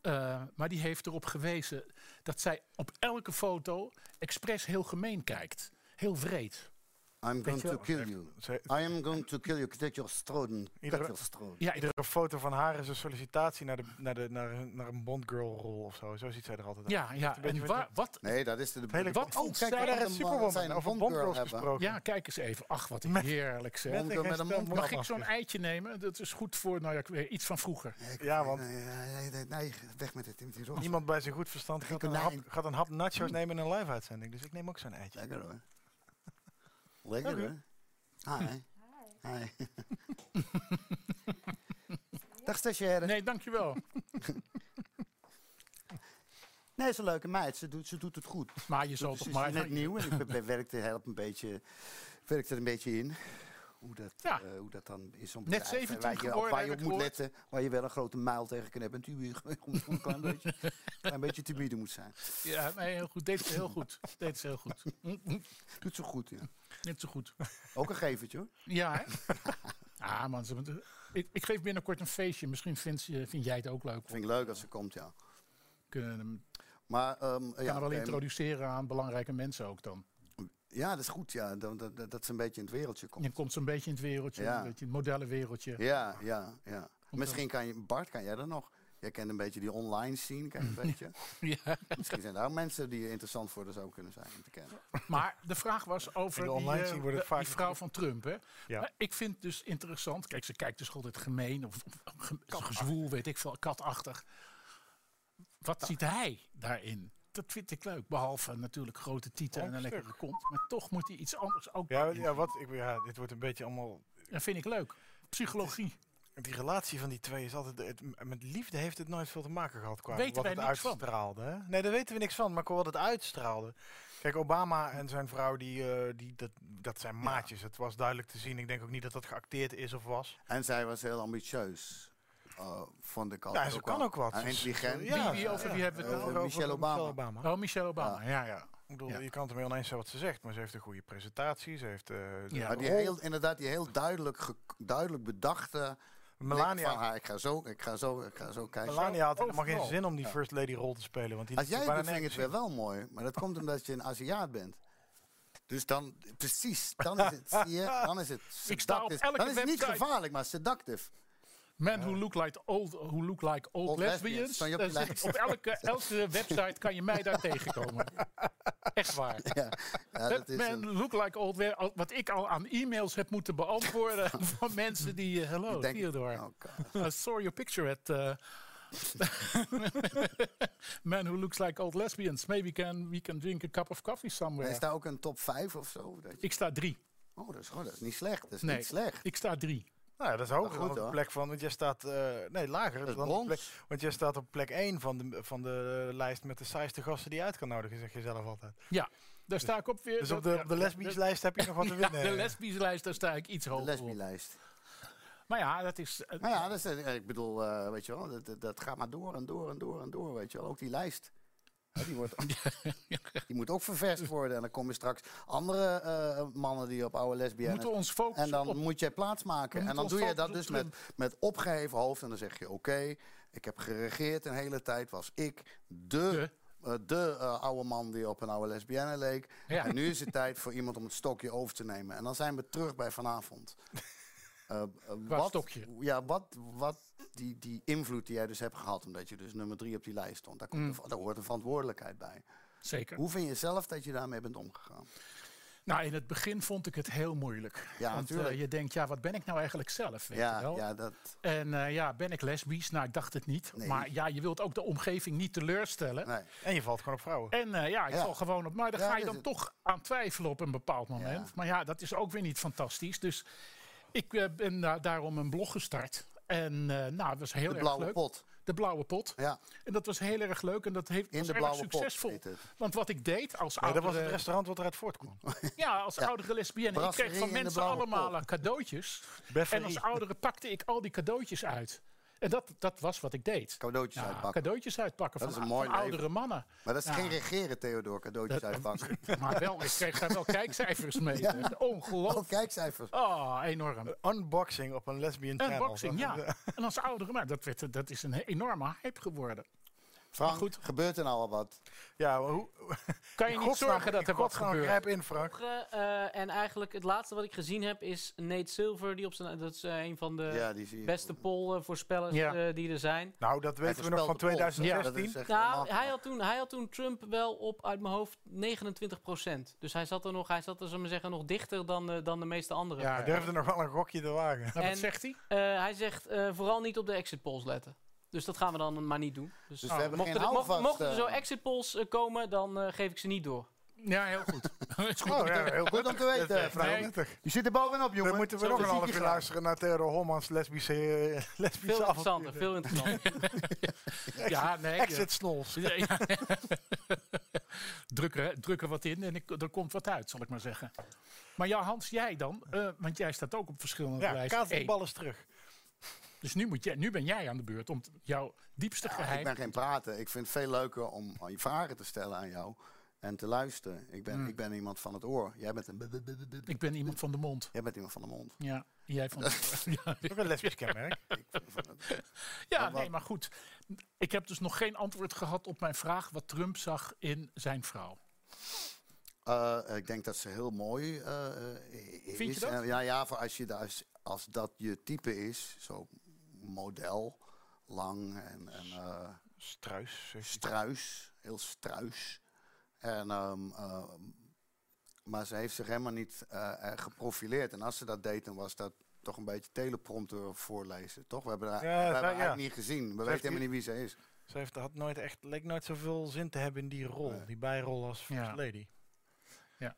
eh, maar die heeft erop gewezen dat zij op elke foto expres heel gemeen kijkt. Heel vreed.
I'm going to
je wel?
kill you.
Ze-
I am going to kill you. Take your stroden. Take
Iedere-
your stroden.
Ja, ik-
Iedere foto van haar is een sollicitatie naar, de, naar, de, naar, een- naar een Bondgirl rol of zo. Zo ziet zij er altijd uit.
ja, ja.
beetje
En wa- wat?
Nee, dat is de...
Het hele-
Wat
Oh,
vond
kijk,
zij-
daar
wat
is
een- wat zij
Superwoman
een
over
Bondgirl
Bondgirls
hebben.
gesproken.
Ja, kijk eens even. Ach, wat
Met-
heerlijk zeg.
Met,
Bondgirl met een
een
Mag ik zo'n eitje nemen? Dat is goed voor, nou ja, ik weet, iets van vroeger.
Ja, want
Nee, nee, nee, nee, weg met dit. met die rot.
niemand bij zijn goed verstand gaat een, hap,
konijn.
gaat een hap
Mm.
nachos nemen in een live uitzending. Dus ik neem ook zo'n eitje.
Lekker hoor. Lekker hoor. Hi. Hi. Dag stagiaire. Nee.
Nee, dankjewel.
ze een leuke meid. Ze doet, ze doet het goed.
Maar je zal
Ze
toch
is
maar...
net nieuw en ik ben- werkte, help een beetje, werkte er een beetje in. Hoe dat,
Ja.
eh, hoe dat dan is. Om
Net
bedrijf en
17
waar je, op
geworden,
waar je
heb
op
ik
moet
gehoord.
letten. Waar je wel een grote muil tegen kan hebben. En die een klein beetje, klein beetje timide moet zijn.
Ja, nee, heel goed. Deed ze heel goed. Deed ze heel goed. Mm, mm,
Doet ze goed, ja.
Net zo goed.
Ook een gevertje hoor.
Ja, hè? ah, man. ze moeten- Ik, ik geef binnenkort een feestje. Misschien vind, je, vind jij het ook leuk. We
Vind ik leuk als ze komt, ja.
kunnen hem
Maar, ehm, ja,
kan er wel
oké,
introduceren aan belangrijke mensen ook dan.
Ja, dat is goed, ja. Dat, dat, dat- dat ze een beetje in het wereldje
Je
komt.
komt zo'n beetje in het wereldje,
Ja.
een beetje in het modellenwereldje.
Ja, ja, ja. Misschien kan je, Bart, kan jij dat nog? Jij kent een beetje die online scene, ken je een beetje.
Ja.
Misschien zijn daar ook mensen die interessant voor de zou kunnen zijn om te kennen.
Maar de vraag was over
In de
die,
online
eh,
scene wordt het
de-
vaak
die vrouw van Trump. Hè?
Ja.
Maar ik vind dus interessant. Kijk, ze kijkt dus altijd gemeen of, of ge- gezwoel, weet ik veel, katachtig. Wat ziet hij daarin? Dat vind ik leuk. Behalve natuurlijk grote tieten en een
Langstuk.
lekkere kont. Maar toch moet hij iets anders ook.
Ja,
daarin
ja, wat, ik, ja, dit wordt een beetje allemaal...
Dat vind ik leuk. Psychologie.
Die relatie van die twee is altijd... Het, met liefde heeft het nooit veel te maken gehad qua
Weten
wat
wij
het
niks van.
uitstraalde. Hè? Nee, daar weten we niks van, maar qua wat het uitstraalde. Kijk, Obama en zijn vrouw, die, eh, die, dat, dat zijn maatjes. Het was duidelijk te zien. Ik denk ook niet dat dat geacteerd is of was.
En zij was heel ambitieus. eh vond ik altijd
Ja, ze kan
wel.
ook wat.
En
Ze is-
intelligent.
Ja,
wie, wie, over wie hebben we het
eh,
nou?
Michelle Obama.
Oh, Michelle Obama. Ja, ja.
Ik bedoel,
Ja.
je kan het ermee oneens zijn wat ze zegt, maar ze heeft een goede presentatie. Ze heeft eh, de
Ja.
Maar die
rol.
heel, inderdaad, die heel duidelijk, ge- duidelijk bedachte blik van
Melania,
haar. Ik ga zo, ik ga zo, ik ga zo kijken.
Melania had helemaal geen
Overal.
zin om die first lady rol te spelen. Want die
Als
liet
jij
ze
het doet,
bijna
vind ik het weer
nergens
wel mooi. Maar dat komt omdat je een Aziat bent. Dus dan, precies, dan is het, zie je, dan is het
op
seductief.
elke
Dan is het niet
website.
gevaarlijk, maar seductive.
Men who look like old, who look like old,
Old lesbians,
lesbians.
dan je op
Daar
je
zit
lijst.
ik op elke, elke website kan je mij daar tegenkomen. Echt waar.
Ja, ja, dat is
Men
een-
look like old we- al- Wat ik al aan e-mails heb moeten beantwoorden van mensen die... eh, Hallo,
denk-
Theodore.
Oh, God.
I saw your picture at... eh, men who looks like old lesbians. Maybe can, we can drink a cup of coffee somewhere.
Is daar ook een top 5 of zo? Dat je-
Ik sta drie.
oh, dat is, gewoon- dat is niet slecht. Dat is
Nee,
niet slecht.
ik sta drie.
Nou, ja, dat is hoger
goed,
dan de
hoor.
plek van, want jij staat, eh, nee, lager.
is
dan de
brons.
plek, want jij staat op plek 1 van de, van de lijst met de saaiste gasten die je uit kan nodigen, zeg je zelf altijd.
Ja, daar sta ik op weer.
Dus op
dat-
de,
ja,
op de lesbisch lijst heb je nog wat te
Ja,
winnen.
de lesbisch lijst, daar sta ik iets
De
hoger op.
lesbielijst.
Maar ja, dat is... eh,
Nou ja, dat is, eh, ik bedoel, eh, weet je wel, dat- dat, dat gaat maar door en door en door en door, weet je wel. Ook die lijst. hè, die, wordt, die moet ook ververst worden. En dan komen straks andere eh, mannen die op oude lesbiennes...
Moeten we ons focussen
En dan
op-
moet jij
We
plaatsmaken. En
moeten
dan
ons
doe je dat dus
focussen op
met, met opgeheven hoofd. En dan zeg je, oké, ik heb geregeerd een hele tijd. Was ik de, eh, de eh, oude man die op een oude lesbienne leek.
Ja.
En nu is het tijd voor iemand om het stokje over te nemen. En dan zijn we terug bij vanavond. Eh, eh, wat,
stokje?
Ja, wat, wat die, die invloed die jij dus hebt gehad, omdat je dus nummer drie op die lijst stond, daar,
Mm.
komt de, daar hoort een verantwoordelijkheid bij.
Zeker.
Hoe vind je zelf dat je daarmee bent omgegaan?
Nou, in het begin vond ik het heel moeilijk.
Ja,
Want eh,
natuurlijk.
je denkt, ja, wat ben ik nou eigenlijk zelf? Weet je
Ja,
wel?
ja, dat,
En eh, ja, ben ik lesbisch? Nou, ik dacht het niet. Maar ja, je wilt ook de omgeving niet teleurstellen.
nee.
En je valt gewoon op vrouwen.
En eh, ja, ik
Ja.
val gewoon op. Maar daar
Ja,
ga je
dat
dan
is
toch aan twijfelen op een bepaald moment. Maar ja, dat is ook weer niet fantastisch. Dus ik eh, ben da- daarom een blog gestart. En eh, nou, dat was heel
De
erg
blauwe
leuk.
pot.
De blauwe pot.
Ja.
En dat was heel erg leuk en dat heeft,
In
was
de
erg
blauwe pot
succesvol.
heet het.
Want wat ik deed als
Nee,
oude
dat was het restaurant wat eruit voortkwam.
ja, als oudere lesbienne. Ik
Brasserie
kreeg van
in de
mensen
blauwe
allemaal
pot.
eh, cadeautjes.
Befferie.
En als oudere pakte ik al die cadeautjes uit. En dat, dat was wat ik deed.
Cadeautjes
Ja,
uitpakken.
Cadeautjes uitpakken
Dat
van,
is een mooi
van
leven.
oudere mannen.
Maar dat is
Ja.
geen regeren, Theodor, cadeautjes
Dat-
uitpakken.
Maar wel, ik kreeg daar wel kijkcijfers mee. Ongelooflijk.
Oh, kijkcijfers.
Oh, enorm.
Unboxing op een lesbian channel.
Unboxing,
Dat-
ja.
eh,
En als oudere man, dat, werd, dat is een enorme hype geworden.
Frank,
goed.
gebeurt er nou al wat?
Ja, maar hoe...
Kan je niet zorgen dat er wat
gewoon
gebeurt?
grijp in, Frank.
Eh, en eigenlijk het laatste wat ik gezien heb is Nate Silver. Die op zijn, dat is eh, een van de
Ja, die zie je.
beste poll-voorspellers
Ja.
die er zijn.
Nou, dat weten we nog van
voorspelt de polls.
2016.
Dat is echt
Nou,
helemaal-
hij had, toen, hij had toen Trump wel op uit mijn hoofd 29 Dus hij zat er nog, hij zat er, zullen we zeggen, nog dichter dan, eh, dan de meeste anderen.
Ja,
Hij durfde nog wel een gokje te wagen.
Nou, wat
En-
zegt hij?
Eh, hij zegt eh, vooral niet op de exit polls letten. Dus dat gaan we dan maar niet doen. Dus,
Dus we hebben
Oh,
mochten,
geen
er, mocht-
houvast.
mochten er
eh.
zo exit polls eh, komen, dan eh, geef ik ze niet door.
Ja, heel goed. Is goed.
Oh, ja, heel
Goed om te weten, Frank.
nee.
Je zit er bovenop, jongen.
Dan moeten we
Zo
nog een
fysiek
half uur
graag.
luisteren naar Theodor Holmans lesbische, eh,
Veel
lesbische
interessanter,
avonturen.
veel interessanter.
Ja, nee. eh, ik-
Exit snols.
Ja, ja. druk, er, druk er wat in en ik, er komt wat uit, zal ik maar zeggen. Maar ja, Hans, jij dan? eh, want jij staat ook op verschillende
Ja,
lijsten.
kaat de
Hey,
bal eens terug.
dus nu, moet jij, nu ben jij aan de beurt om t- jouw diepste
Ja, ik
geheim...
ben geen praten. Ik vind het veel leuker om aan je vragen te stellen aan jou en te luisteren. Ik
Hmm.
ben, ik ben iemand van het oor. Jij bent, een bu- bu- bu- bu- bu- bu-
ik ben iemand van de mond.
Jij bent iemand van de mond.
Ja, jij van ja,
Ook een lesbisch kenmerk.
ja, nee, maar goed. Ik heb dus nog geen antwoord gehad op mijn vraag wat Trump zag in zijn vrouw.
Eh, ik denk dat ze heel mooi eh, eh, is.
je dat?
En ja, ja, voor als, je da- als, als dat je type is, zo model, lang en, en eh,
Struis. zus.
struis, heel struis. En, ehm, ehm, maar ze heeft zich helemaal niet eh, eh, geprofileerd. En als ze dat deed, dan was dat toch een beetje teleprompter voorlezen, toch? We hebben haar,
Ja,
we hebben
zij-
haar
ja.
eigenlijk niet gezien. We weten
heeft
helemaal niet wie ze is.
Ze heeft, had nooit echt, leek nooit zoveel zin te hebben in die rol. Die bijrol als First
Ja.
Lady.
Ja.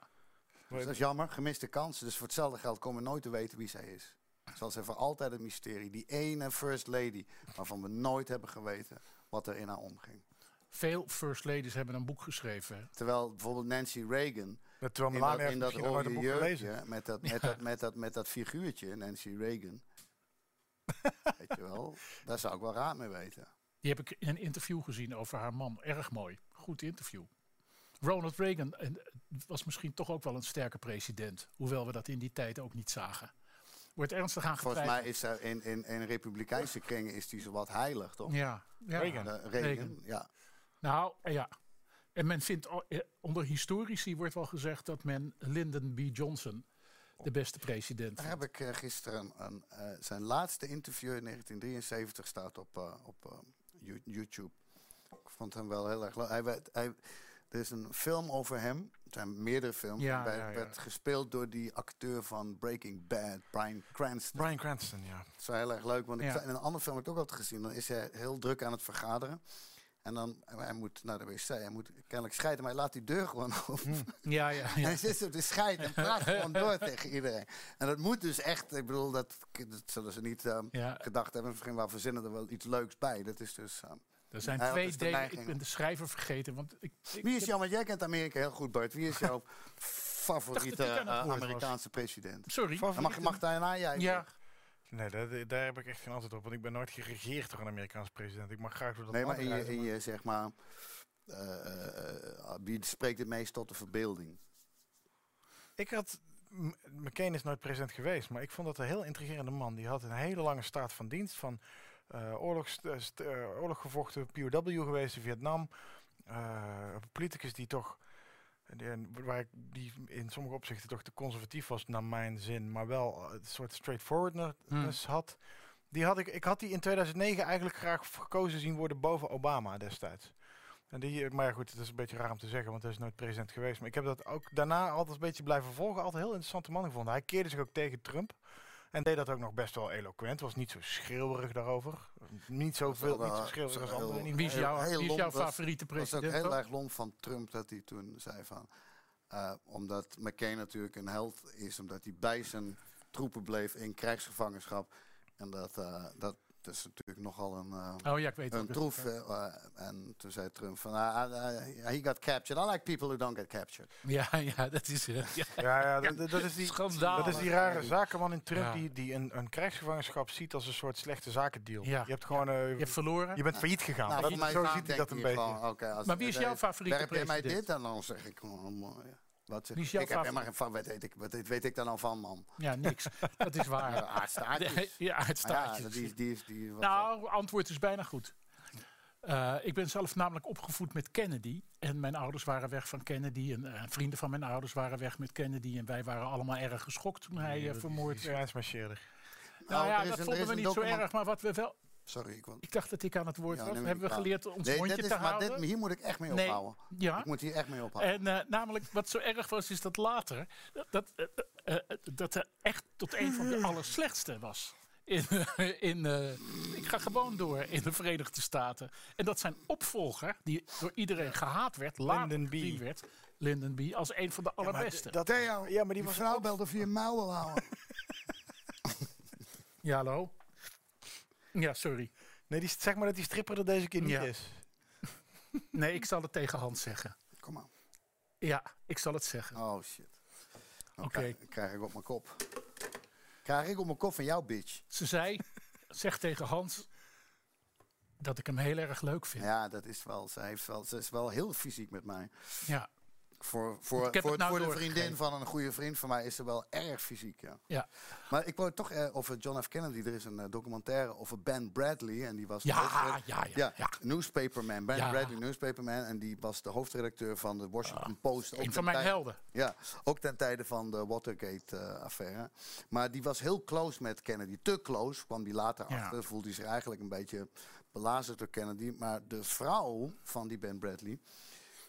Dus dat is jammer, gemiste kans. Dus voor hetzelfde geld komen we nooit te weten wie zij is. Zal ze voor altijd het mysterie. Die ene first lady, waarvan we nooit hebben geweten wat er in haar omging.
Veel first ladies hebben een boek geschreven.
Terwijl bijvoorbeeld Nancy Reagan,
Met Terwijl
in
Melania
dat,
heeft
in dat
misschien nog nooit een
rode
boek gelezen.
jurkje, met dat, met, dat, met, dat, met dat figuurtje, Nancy Reagan. Weet je wel, daar zou ik wel raad mee weten.
Die heb ik in een interview gezien over haar man. Erg mooi. Goed interview. Ronald Reagan eh, was misschien toch ook wel een sterke president. Hoewel we dat in die tijd ook niet zagen. Wordt ernstig aan
Volgens mij is
getwijfeld.
er in, in, in republikeinse kringen is die zowat heilig, toch?
Ja, ja.
Eh,
Reagan.
Reagan,
Reagan.
ja.
Nou, eh, ja. En men vindt, al- eh, onder historici wordt wel gezegd dat men Lyndon B. Johnson de beste president
Daar
vindt.
heb ik eh, gisteren een, eh, zijn laatste interview in 1973 staat op, eh, op eh, You- YouTube. Ik vond hem wel heel erg leuk. Hij werd, hij, er is een film over hem. Er zijn meerdere films.
Ja,
Hij
ja, ja.
werd gespeeld door die acteur van Breaking Bad, Brian Cranston.
Brian Cranston, ja.
Dat is wel heel erg leuk, want ik
Ja.
zei- in een andere film heb ik ook altijd gezien. Dan is hij heel druk aan het vergaderen. En dan, hij moet naar de wc, hij moet kennelijk scheiden, maar hij laat die deur gewoon open.
Ja, ja, ja.
Hij zit op de scheid en praat gewoon door tegen iedereen. En dat moet dus echt, ik bedoel, dat, dat zullen ze niet ehm,
Ja.
gedacht hebben. Misschien wel verzinnen er wel iets leuks bij. Dat is dus. ehm,
Er zijn
Hij had
twee
dus de
delen.
neiging.
Ik ben de schrijver vergeten. Want ik, ik
wie is
heb-
jou, want jij kent Amerika heel goed, Bart. Wie is jouw favoriete
ik aan het
eh,
woord was.
Amerikaanse president?
Sorry.
Dan mag, mag daarna jij.
Ja.
Nee, daar, daar heb ik echt geen antwoord op. Want ik ben nooit geregeerd door een Amerikaans president. Ik mag graag door dat
Nee, maar in
land
je,
reizen,
in
maar-
je zeg maar. eh, eh, eh, wie spreekt het meest tot de verbeelding?
Ik had... M- McCain is nooit president geweest, maar ik vond dat een heel intrigerende man. Die had een hele lange staat van dienst van eh oorlogs, eh, st- eh, oorlog gevochten, POW geweest in Vietnam. eh, politicus die toch... die- en Waar ik, die in sommige opzichten toch te conservatief was, naar mijn zin, maar wel eh, een soort straightforwardness
Hmm.
had. Die had ik, ik had die in 2009 eigenlijk graag v- gekozen zien worden boven Obama destijds. En die, eh, maar ja, goed, het is een beetje raar om te zeggen, want hij is nooit president geweest. Maar ik heb dat ook daarna altijd een beetje blijven volgen. Altijd een heel interessante man gevonden. Hij keerde zich ook tegen Trump. En deed dat ook nog best wel eloquent. Was niet zo schreeuwerig daarover. Niet zo, veel,
wel,
niet zo
eh,
schreeuwerig als
heel-
anderen. in ieder
Wie is,
Heel-
jouw-
heel
wie is jouw
lomp, dat-
favoriete
Dat was ook
president?
heel
dan?
erg lomp van Trump dat hij toen zei van... eh, omdat McCain natuurlijk een held is, omdat hij bij zijn troepen bleef in krijgsgevangenschap. En dat, eh, dat is natuurlijk nogal een, eh,
Oh ja, ik weet
een
het.
troef. eh, eh, en toen zei Trump van, ah, ah, ah, he got captured. I like people who don't get captured.
Ja, ja, dat is... eh, ja.
geval. Ja, ja, dat- dat, dat is die,
Schandalig.
dat is die rare zakenman in Trump
Ja.
die, die een, een krijgsgevangenschap ziet als een soort slechte zakendeal.
Ja.
Je hebt gewoon... eh,
Je hebt verloren.
je bent failliet gegaan.
Nou,
Dat-
volgens mij
zo
vaak
ziet hij
denkt
dat een
hij
beetje.
gewoon, oké, als-
Maar wie is
eh,
jouw favoriete
Werp jij mij
president?
dit en dan zeg ik... oh, mooi. Wat zeg
Wie
ik?
is jouw
Ik heb helemaal
favoriet?
geen van, weet ik, wat dit weet ik dan al van, man.
Ja, niks. Dat is
Ja,
waar.
aardstaartjes.
Ja, het
Nou, Maar
staat
Ja, die is... Die is die, wat-
Nou, antwoord is bijna goed. Eh, ik ben zelf namelijk opgevoed met Kennedy. En mijn ouders waren weg van Kennedy. En eh, vrienden van mijn ouders waren weg met Kennedy. En wij waren allemaal erg geschokt toen hij eh, vermoord
Die
werd.
grensmarcheerder.
Nou
Oh,
ja,
er is
dat
een- er
vonden
is
we
een
niet zo
document-
erg. Maar wat we wel...
Sorry, ik wil...
Ik dacht dat ik aan het woord
Ja,
was.
neem me
Hebben we
niet kwalijk.
geleerd ons
Nee,
mondje
dit is,
te
maar
houden?
dit, hier moet ik echt mee
Nee,
ophouden.
ja.
Ik moet hier echt mee ophouden.
En eh, namelijk, wat zo erg was, is dat later dat, dat, eh, eh, eh, dat hij echt tot een van de allerslechtste was. In, eh, in, eh, ik ga gewoon door in de Verenigde Staten. En dat zijn opvolger, die door iedereen gehaat werd, later
Lyndon B.
gezien werd, Lyndon B. als een van de allerbeste. Ja,
Dat,
Theo,
ja, maar die
die
was
vrouw belde of je je mouw wil houden.
hallo? Ja, sorry.
Nee, die, zeg maar dat die stripper er deze keer niet
Ja.
is.
Nee, ik zal het tegen Hans zeggen.
Kom aan.
Ja, ik zal het zeggen.
Oh shit. Dan
Oké.
krijg, krijg ik op mijn kop. Krijg ik op mijn kop van jou, bitch.
Ze zei, zeg tegen Hans dat ik hem heel erg leuk vind.
Ja, dat is wel. Ze, heeft wel, ze is wel heel fysiek met mij.
ja.
Voor, voor,
Ik heb
voor,
het nou
voor de
doorgegeven.
vriendin van een goede vriend van mij is ze wel erg fysiek. Ja.
ja.
Maar ik wou toch eh, over John F. Kennedy. Er is een eh, documentaire over Ben Bradley. En die was de
Ja,
hoofdred-
ja, ja, ja.
Newspaperman. Ben
Ja.
Bradley, newspaperman. En die was de hoofdredacteur van de Washington Post. ook
Ah, Een
ten
van mijn
tijde-
helden.
Ja, ook ten tijde van de Watergate-affaire. maar die was heel close met Kennedy. Te close, kwam die later
Ja.
achter. Voelde hij zich eigenlijk een beetje belazerd door Kennedy. Maar de vrouw van die Ben Bradley...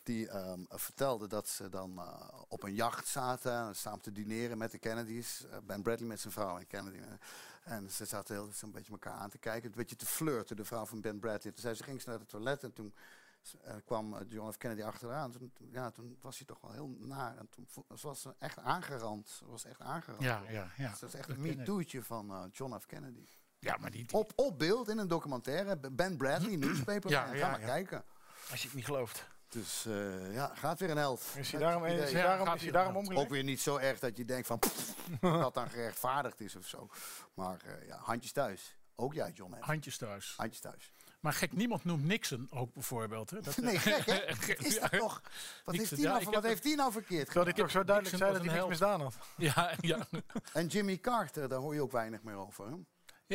Die ehm, vertelde dat ze dan eh, op een jacht zaten, samen te dineren met de Kennedys. Eh, ben Bradley met zijn vrouw en Kennedy. eh, En ze zaten heel zo'n beetje elkaar aan te kijken. Een beetje te flirten, de vrouw van Ben Bradley. Toen zei ze, ging ze naar het toilet en toen eh, kwam eh, John F. Kennedy achteraan. Toen, toen- ja, toen was hij toch wel heel naar. En toen vo- ze was ze echt aangerand. Ze was echt aangerand.
Ja, ja, ja.
Ze was echt
Dat
een
ken ik.
me-too'tje van eh, John F. Kennedy.
Ja, maar die, die-
Op, op beeld in een documentaire. B- Ben Bradley, newspaper.
Ja,
Ga
ja,
maar
ja.
kijken.
Als je het niet gelooft.
Dus eh, ja, gaat weer een held.
Is hij daarom, is hij
Ja,
daarom,
gaat
is hij
hij
daarom
wel.
omgelegd?
Ook weer niet zo erg dat je denkt van pff, dat dan gerechtvaardigd is of zo. Maar eh, ja, handjes thuis. Ook jij, John. F.
handjes thuis.
Handjes thuis.
Maar gek, niemand noemt Nixon ook bijvoorbeeld. Hè? Dat, eh,
Nee, gek hè? Wat Is dat
Ja.
toch? Wat,
Niks
heeft
te-
die,
ja,
nou,
ik
voor-
heb
wat heeft die nou verkeerd
Terwijl
gedaan?
hij toch zo duidelijk
Nixon
zei
was
dat hij niks
een
misdaan had.
ja, ja.
En Jimmy Carter, daar hoor je ook weinig meer over. Hè? Die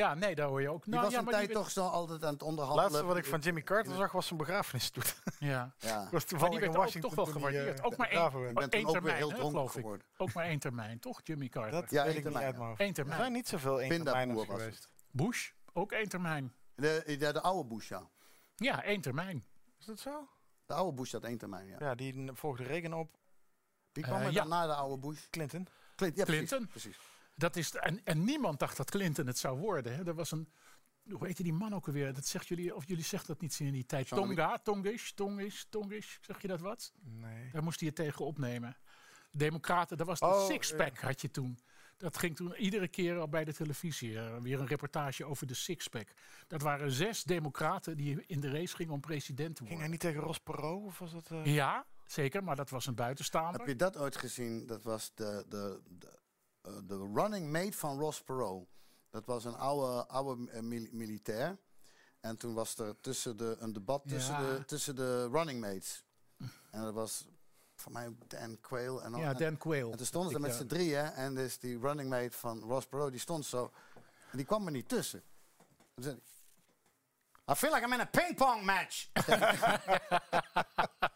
ja, nee, daar hoor je ook. Nou,
was
ja,
een
maar
tijd
die-
toch zo altijd aan het
Het
onderhandelen.
laatste wat ik van Jimmy Carter zag was zijn begrafenis toen.
Ja.
Ja.
was
Maar
toevallig
die
in
werd ook
Washington.
toch wel
toen hij,
gewaardeerd.
eh,
ook maar
begraven
één,
werd.
bent toen
één
ook weer
termijn,
heel
hè,
dronken
geloof ik.
geworden.
Ook maar één termijn, toch, Jimmy Carter?
Dat weet
Ja, één
ik niet
termijn,
uit
ja.
mijn hoofd.
Eén
Er
termijn.
zijn niet zoveel één
Pindapoel
termijners
was
geweest.
Bush, ook één termijn.
De, de, de oude Bush, ja.
Ja, één termijn.
Is dat zo?
De oude Bush had één termijn, ja.
Ja, die n- volgde Reagan op.
Die kwam
Eh,
er
ja.
dan na de oude Bush.
Clinton.
Clint- ja, precies,
Clinton.
Precies.
Dat is, de- en, en niemand dacht dat Clinton het zou worden. Hè. Er was een, hoe heette die man ook alweer? Dat zegt jullie, of jullie zegt dat niet in die tijd.
Jean-Louis-
Tonga, Tongish, Tongish, Tongish. Zeg je dat wat?
Nee.
Daar moest hij het tegen opnemen. Democraten, dat was de
Oh,
sixpack had je toen. Dat ging toen iedere keer al bij de televisie. eh, weer een reportage over de sixpack. Dat waren zes democraten die in de race gingen om president te
Ging hij
worden.
niet tegen Ross Perot? Of was dat... eh,
Ja, zeker, maar dat was een
Heb
buitenstaander.
je dat ooit gezien? Dat was de, de, de, eh, de running mate van Ross Perot. Dat was een oude, oude eh, mil- militair. En toen was er tussen de, een debat tussen,
Ja.
de, tussen de running mates. En dat was voor mij ook Dan Quayle. En, al-
Ja,
en-
Dan Quayle.
en toen stonden ze
Ik,
met
ja.
z'n drieën. En dus die running mate van Ross Perot, die stond zo. En die kwam er niet tussen. Toen zei ik,
I feel like I'm in a ping-pong match.
dat is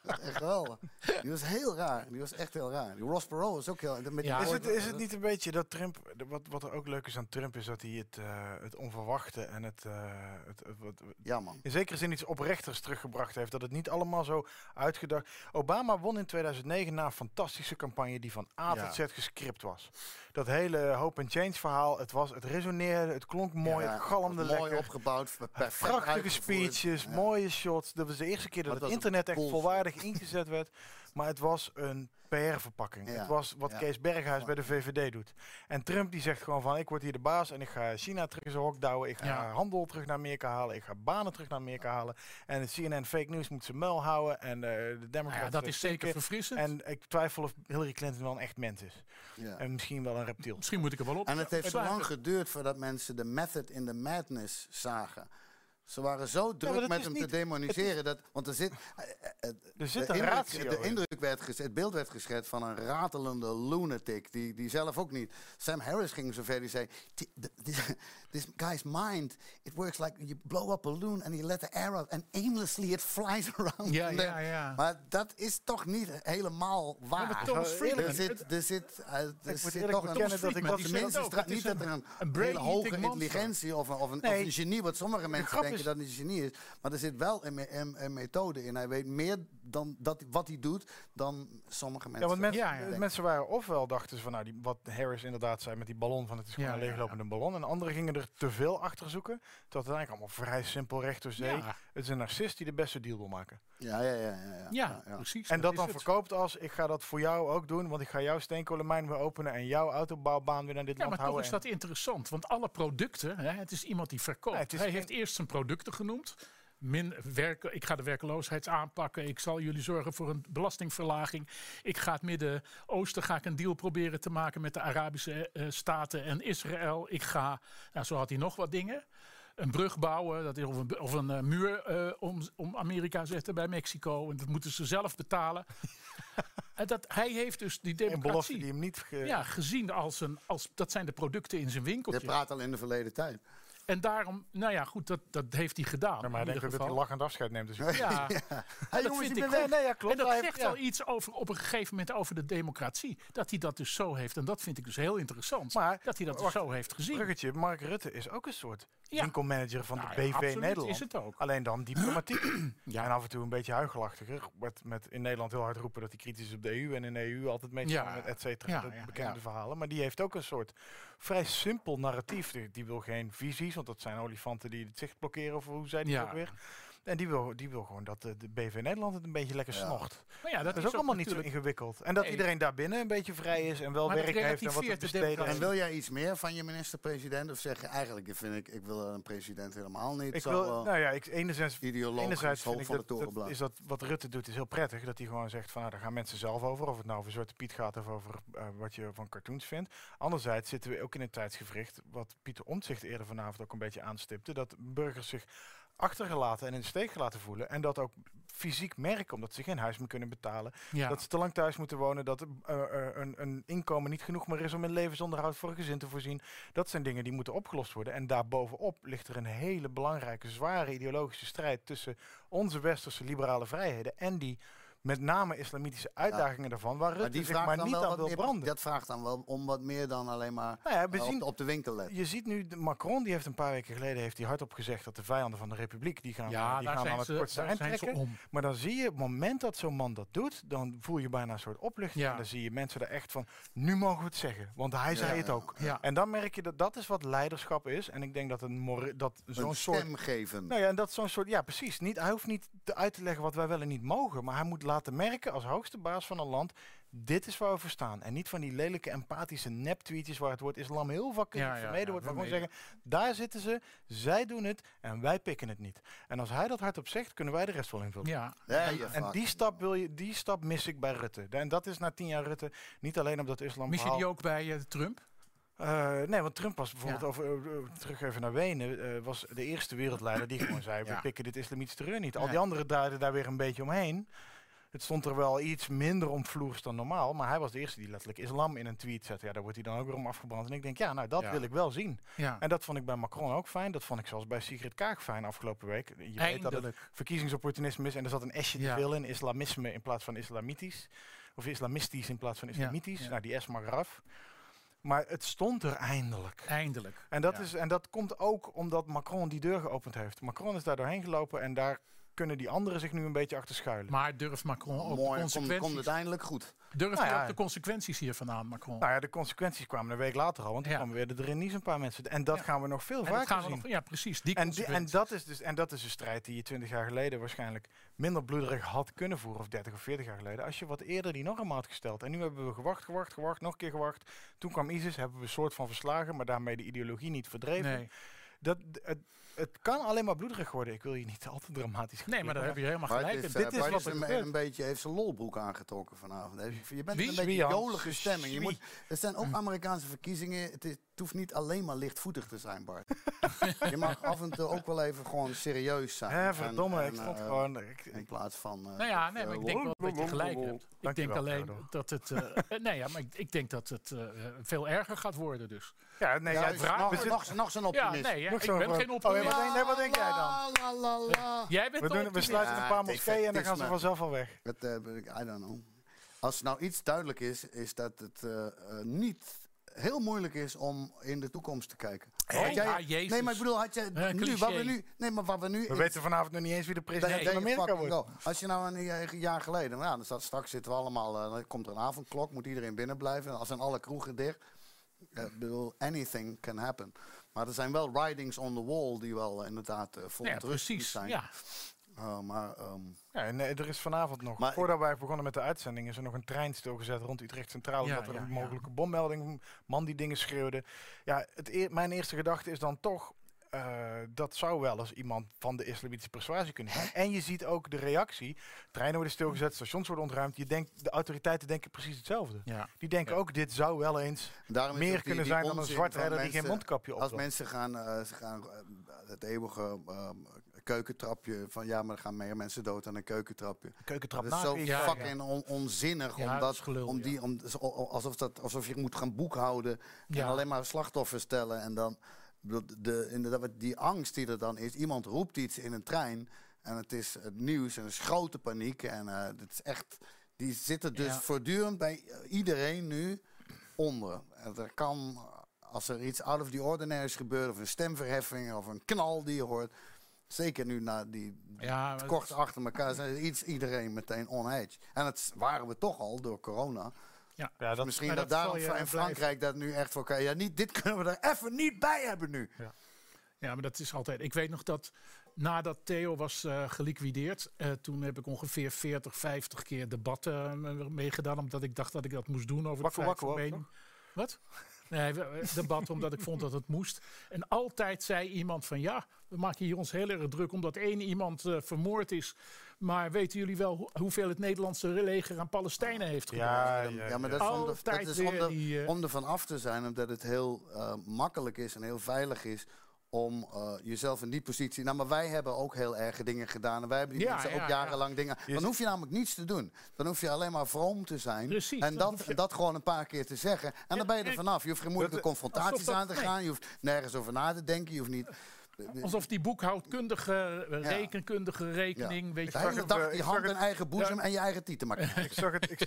echt geweldig. Die was heel raar. Die was echt heel raar. Die Ross Perot was ook heel... Met die
Ja.
Is
woorden-
het, is het niet een beetje dat Trump, de- wat, wat er ook leuk is aan Trump, is dat hij het, eh, het onverwachte en het, eh, het, het wat,
Ja, man.
in zekere zin iets oprechters teruggebracht heeft. Dat het niet allemaal zo uitgedacht. Obama won in 2009 na een fantastische campagne die van A tot Z gescript was. Dat hele hope and change verhaal, het, was, het resoneerde, het klonk mooi,
Ja,
het galmde
was mooi
lekker.
opgebouwd. perfect
Prachtige
uitgevoerd.
speeches,
Ja.
mooie shots. Dat was de eerste keer dat,
Maar
het
dat was
internet echt
bullshit.
volwaardig ingezet werd. Maar het was een PR-verpakking.
Ja,
Het was wat
ja.
Kees Berghuis bij de VVD doet. En Trump die zegt gewoon van... ik word hier de baas en ik ga China terug in zijn hok douwen. Ik ga
Ja.
handel terug naar Amerika halen. Ik ga banen terug naar Amerika halen. En het CNN fake news moet ze muil houden. En eh, de
Nou
Democraten...
ja, dat is zeker
stinken.
verfrissend.
En ik twijfel of Hillary Clinton wel een echt mens is.
Ja.
En misschien wel een reptiel.
Misschien moet ik er wel op.
En het heeft zo
Ja,
lang geduurd voordat mensen de method in de madness zagen. Ze waren zo druk
maar dat
met
is
hem te
niet-
demoniseren. Dat, want er zit,
Er zit
de
een
indruk-
ratio
de
in.
indruk werd ges- Het beeld werd geschetst van een ratelende lunatic. Die, die zelf ook niet. Sam Harris ging zover die zei: "T- th- th- This guy's mind, it works like you blow up a balloon and you let the air out. And aimlessly it flies around.
Ja,
And then-
ja, ja.
Maar dat is toch niet helemaal waar.
maar Thomas
Er
Friedman-
zit- Er zit eh, er
moet
zit
eerlijk
toch
bekennen
een
dat ik wat-
de
die
zegt
mensen
ook,
stra-
het is
niet dat er een,
een brain
hele hoge
eating monster.
intelligentie of een, of, een, of
Nee.
een genie, wat sommige mensen
grap
denken
is-
dat hij een genie is. Maar er zit wel een, me- een- een methode in. Hij weet meer dan dat, wat hij doet dan sommige mensen.
Ja, want mensen,
Ja, ja.
eh, mensen waren ofwel dachten ze van nou, die, wat Harris inderdaad zei met die ballon, van het is gewoon
Ja,
een
ja,
leeglopende ballon. En anderen gingen er te veel achter zoeken. Terwijl het eigenlijk allemaal vrij simpel recht door zee.
Ja.
Het is een narcist die de beste deal wil maken.
Ja, ja, ja. ja, ja.
ja, precies.
en dat
is
dan
het.
verkoopt als ik ga dat voor jou ook doen, want ik ga jouw steenkolenmijn weer openen en jouw autobouwbaan weer naar dit
Ja,
land
maar toch
houden.
is dat interessant. Want alle producten, hè, het is iemand die verkoopt.
Ja, het is
Hij
geen-
heeft eerst zijn producten genoemd. Min werken, ik ga de werkloosheid aanpakken. Ik zal jullie zorgen voor een belastingverlaging. Ik ga het Midden-Oosten ga ik een deal proberen te maken met de Arabische eh, Staten en Israël. Ik ga, nou, zo had hij nog wat dingen. Een brug bouwen, dat is, of een, of een eh, muur eh, om, om Amerika zetten bij Mexico. En dat moeten ze zelf betalen. en dat, hij heeft dus die
en, een belofte
democratie.
die hem niet... ge-
Ja, gezien als een. Als, dat zijn de producten in zijn
Je
winkeltje.
praat al in de verleden tijd.
En daarom, nou ja, goed, dat, dat heeft hij gedaan.
maar hij
in
denkt
ieder
ook dat hij
geval.
lachend afscheid neemt. Dus
Ja,
Hey,
dat
jongens,
vind
ik
ik
ben
goed.
weg. Nee, ja, klopt.
en dat
Hij
zegt
heeft-
wel
ja.
iets over op een gegeven moment over de democratie. Dat hij dat dus zo heeft. En dat vind ik dus heel interessant.
Maar,
dat hij dat dus
wacht,
zo heeft gezien.
Bruggetje, Mark Rutte is ook een soort
Ja.
winkelmanager van
Nou
de
ja,
BV
absoluut
Nederland.
is het ook.
Alleen dan diplomatiek. ja. En af en toe een beetje huichelachtiger. Met, met in Nederland heel hard roepen dat hij kritisch is op de EU en in de EU altijd mee
Ja.
met et cetera.
Ja,
de
ja,
bekende
ja.
verhalen. Maar die heeft ook een soort vrij simpel narratief. Die, die wil geen visies, want dat zijn olifanten die het zicht blokkeren. Of hoe zei die
Ja.
ook weer? En die wil, die wil gewoon dat de, de BV Nederland het een beetje lekker snocht.
Maar ja, dat,
Dat is ook allemaal niet zo
natuurlijk-
ingewikkeld. En dat
Nee.
iedereen daarbinnen een beetje vrij is en wel
Maar dat
werk heeft en wat te
relativeert de
besteden
democratie.
En
is.
wil jij iets meer van je minister-president? Of zeg je eigenlijk, vind ik, ik wil een president helemaal niet.
Ik
zo,
wil,
eh,
nou ja, ik, enerzijds,
ideologisch
enerzijds
hoofd
vind ik
van de
dat, dat
torenblaad.
is dat wat Rutte doet is heel prettig. Dat hij gewoon zegt van nou, daar gaan mensen zelf over. Of het nou over Zwarte Piet gaat of over eh, wat je van cartoons vindt. Anderzijds zitten we ook in een tijdsgevricht, wat Pieter Omtzigt eerder vanavond ook een beetje aanstipte, dat burgers zich achtergelaten en in de steek gelaten voelen. En dat ook fysiek merken, omdat ze geen huis meer kunnen betalen.
Ja.
Dat ze te lang thuis moeten wonen, dat eh, eh, een, een inkomen niet genoeg meer is om een levensonderhoud voor een gezin te voorzien. Dat zijn dingen die moeten opgelost worden. En daarbovenop ligt er een hele belangrijke, zware ideologische strijd tussen onze westerse liberale vrijheden en die met name islamitische uitdagingen daarvan, waar
maar
Rutte
die
zich
vraagt
maar
dan
niet
wel
aan
wat
wil
meer,
branden.
Dat vraagt dan wel om wat meer dan alleen maar
Nou ja, we
eh, op,
zien-
de- op de winkel letten.
Je ziet nu, de Macron die heeft een paar weken geleden heeft hij hardop gezegd dat de vijanden van de republiek die gaan,
Ja,
die
daar
gaan
zijn
aan het
ze-
kortste
daar
eind
zijn ze
trekken.
om.
Maar dan zie je, op het moment dat zo'n man dat doet, dan voel je bijna een soort opluchting.
Ja.
En dan zie je mensen er echt van, nu mogen we het zeggen, want hij zei het ook.
Ja.
En dan merk je dat dat is wat leiderschap is. En ik denk dat, een more- dat zo'n
Een
soort...
stem geven.
Nou ja, en dat zo'n soort, ja precies, niet, hij hoeft niet te uit te leggen wat wij wel en niet mogen, maar hij moet laten merken als hoogste baas van een land, dit is waar we voor staan. En niet van die lelijke empathische neptweetjes waar het woord islam heel vakkundig
Ja, ja,
vermeden
ja,
wordt, maar gewoon
vermeden.
zeggen, daar zitten ze, zij doen het en wij pikken het niet. En als hij dat hardop zegt, kunnen wij de rest wel invullen.
Ja,
Ja,
En,
je
en
fuck.
die, stap wil je, die stap mis ik bij Rutte. En dat is na tien jaar Rutte niet alleen op dat islam
mis je die
verhaal.
ook bij eh, Trump?
Eh, nee, want Trump was bijvoorbeeld
Ja.
over, eh, eh, terug even naar Wenen, eh, was de eerste wereldleider die gewoon zei:
Ja.
we pikken dit islamitische terreur niet. Al
Nee.
die anderen duiden daar weer een beetje omheen. Het stond er wel iets minder omvloers dan normaal, maar hij was de eerste die letterlijk islam in een tweet zette. Ja, daar wordt hij dan ook weer om afgebrand. En ik denk, ja, nou dat
Ja.
wil ik wel zien.
Ja.
En dat vond ik bij Macron ook fijn. Dat vond ik zelfs bij Sigrid Kaag fijn afgelopen week. Je weet dat het
Eindelijk.
verkiezingsopportunisme is en er zat een S'je
Ja.
te veel in. Islamisme in plaats van islamitisch. Of islamistisch in plaats van islamitisch.
ja.
Nou, die S mag eraf. Maar het stond er eindelijk.
Eindelijk.
En dat,
Ja.
is, en dat komt ook omdat Macron die deur geopend heeft. Macron is daar doorheen gelopen en daar kunnen die anderen zich nu een beetje achter schuilen.
Maar durft Macron ook de
Mooi, komt
consequenties,
komt uiteindelijk goed.
durft
Nou
hij
ja.
ook de consequenties hiervan aan, Macron?
nou ja, de consequenties kwamen een week later al, want toen
Ja.
kwamen weer de Drenies een paar mensen. En dat
Ja.
gaan we nog veel
En dat
vaker
gaan we
zien.
nog, ja, precies. Die
En, die- en,
consequenties.
dat is dus, en dat is een strijd die je 20 jaar geleden waarschijnlijk minder bloederig had kunnen voeren, of 30 of 40 jaar geleden, als je wat eerder die norm had gesteld. En nu hebben we gewacht, gewacht, gewacht, nog een keer gewacht. Toen kwam ISIS, hebben we een soort van verslagen, maar daarmee de ideologie niet verdreven.
nee.
Dat, d- het, het kan alleen maar bloederig worden. Ik wil je niet al te dramatisch gaan
nee, maar daar heb je helemaal
Maar
gelijk
dit,
in.
eh,
dit is
Bart
wat er
een,
gebeurt.
een beetje heeft zijn lolbroek aangetrokken vanavond. Hij- Je bent
Wie?
een beetje
Wie, Hans? Hm.
jolige stemming. Je
Wie?
moet, het zijn ook Amerikaanse verkiezingen. Het, is- het hoeft niet alleen maar lichtvoetig te zijn, Bart. je mag af en toe ook wel even gewoon serieus zijn.
Hè,
En-
verdomme,
en,
ik stond
eh,
gewoon... ik-
In plaats van... eh,
Nou ja,
dat,
nee,
eh,
maar ik denk wel dat je gelijk hebt. Ik denk
Dankjewel,
alleen
Theodor.
dat het... eh, eh, nee, ja, maar ik, ik denk dat het eh, eh, veel erger gaat worden dus.
ja, nee,
Ja,
jij
is
vraagt me
nog,
zit-
nog, nog zo'n
Ja,
optimist.
nee, ja,
nog
ik
zo'n
ben
gewoon-
geen
Oh, ja,
optimist.
wat denk- nee, wat denk jij dan?
La, la, la, la.
Jij bent
We,
de
doen, we
optimist.
sluiten een
Ja,
paar
het is
moskeeën en dan gaan ze
maar-
vanzelf al weg.
Dat, eh, ben ik- I don't know. Als nou iets duidelijk is, is dat het eh, eh, niet heel moeilijk is om in de toekomst te kijken.
Hey,
Had jij-
ja, Jezus.
Nee, maar ik bedoel, had jij
Eh,
nu,
cliché.
wat we nu, nee, maar wat we nu.
We weten vanavond nog niet eens wie de president
Nee,
van Amerika
fucking
wordt.
wel. Als je nou een jaar- jaar geleden, nou, dan staat, straks zitten we allemaal, eh, dan komt er een avondklok, moet iedereen binnen blijven, dan zijn alle kroegen dicht. Eh, Ik bedoel, anything can happen. Maar er zijn wel writings on the wall die wel eh, inderdaad eh, vol
Ja,
ontrust
precies.
zijn.
Ja.
Eh, maar ehm,
Ja, en eh, er is vanavond nog,
Maar ik-
voordat wij begonnen met de uitzending, is er nog een trein stilgezet rond Utrecht Centraal.
Ja,
omdat er
ja,
een
ja.
mogelijke bommelding, man die dingen schreeuwde. Ja, het eer- mijn eerste gedachte is dan toch, eh, dat zou wel eens iemand van de islamitische persuasie kunnen zijn. En je ziet ook de reactie. Treinen worden stilgezet, stations worden ontruimd. Je denkt, de autoriteiten denken precies hetzelfde.
Ja.
Die denken ook, dit zou wel eens
Daarom is
meer
ook die-
kunnen
die
zijn dan een
onzin
zwarte
van
redder die geen
mensen-
mondkapje op
Als
wil.
mensen gaan, eh, ze gaan eh, het eeuwige eh, keukentrapje van ja, maar er gaan meer mensen dood aan een keukentrapje.
Keukentrap
Dat is zo
nakeken.
ja.
fucking on- onzinnig.
Ja,
om
dat
dat,
is gelul,
om
ja.
die, om, zo- alsof, dat, alsof je moet gaan boekhouden
Ja.
en alleen maar slachtoffers tellen. En dan ik bedoel, de, inderdaad, wat die angst die er dan is. Iemand roept iets in een trein en het is het nieuws en er is grote paniek. En eh het is echt, die zitten dus
Ja.
voortdurend bij iedereen nu onder. En er kan, als er iets out of the ordinary is gebeurd, of een stemverheffing of een knal die je hoort. Zeker nu na die,
Ja, maar-
kort achter elkaar zijn iets iedereen meteen on edge. En dat waren we toch al door corona. Dus
Ja, dat,
Misschien
maar
dat,
zal
daarom
je
Fra- in
blijven.
Frankrijk dat nu echt voor elkaar. Ja, niet, dit kunnen we er even niet bij hebben nu.
Ja, maar dat is altijd. Ik weet nog dat nadat Theo was eh, geliquideerd, eh, toen heb ik ongeveer 40, 50 keer debatten eh, meegedaan, omdat ik dacht dat ik dat moest doen over
Wakker,
de
wakker, wakker,
Wat? Nee, we- eh, debat omdat ik vond dat het moest. En altijd zei iemand van ja, we maken hier ons heel erg druk omdat één iemand eh, vermoord is. Maar weten jullie wel hoe- hoeveel het Nederlandse leger aan Palestijnen heeft gedaan?
Ja, ja,
Ja, maar dat
ja.
is, om, de, dat
Altijd
is
weer
om, de,
die, eh,
om er van af te zijn, omdat het heel eh, makkelijk is en heel veilig is om eh, jezelf in die positie. Nou, maar wij hebben ook heel erge dingen gedaan. En wij hebben die
Ja,
mensen
ja,
ook
ja.
jarenlang dingen. Dan hoef je namelijk niets te doen. Dan hoef je alleen maar vroom te zijn.
Precies,
en
dan
dat,
hoef je-
dat gewoon een paar keer te zeggen. En dan ben je er vanaf. Je hoeft geen moeilijke
Dat-
confrontaties
alsof dat-
aan te
nee.
gaan. Je hoeft nergens over na te denken. Je hoeft niet.
Alsof die boekhoudkundige, eh, rekenkundige rekening, weet je
De
wel.
hele
het, eh,
dag
ik
die
zag
hand
het-
in eigen boezem en je eigen tieten maken.
ik zag het, ik,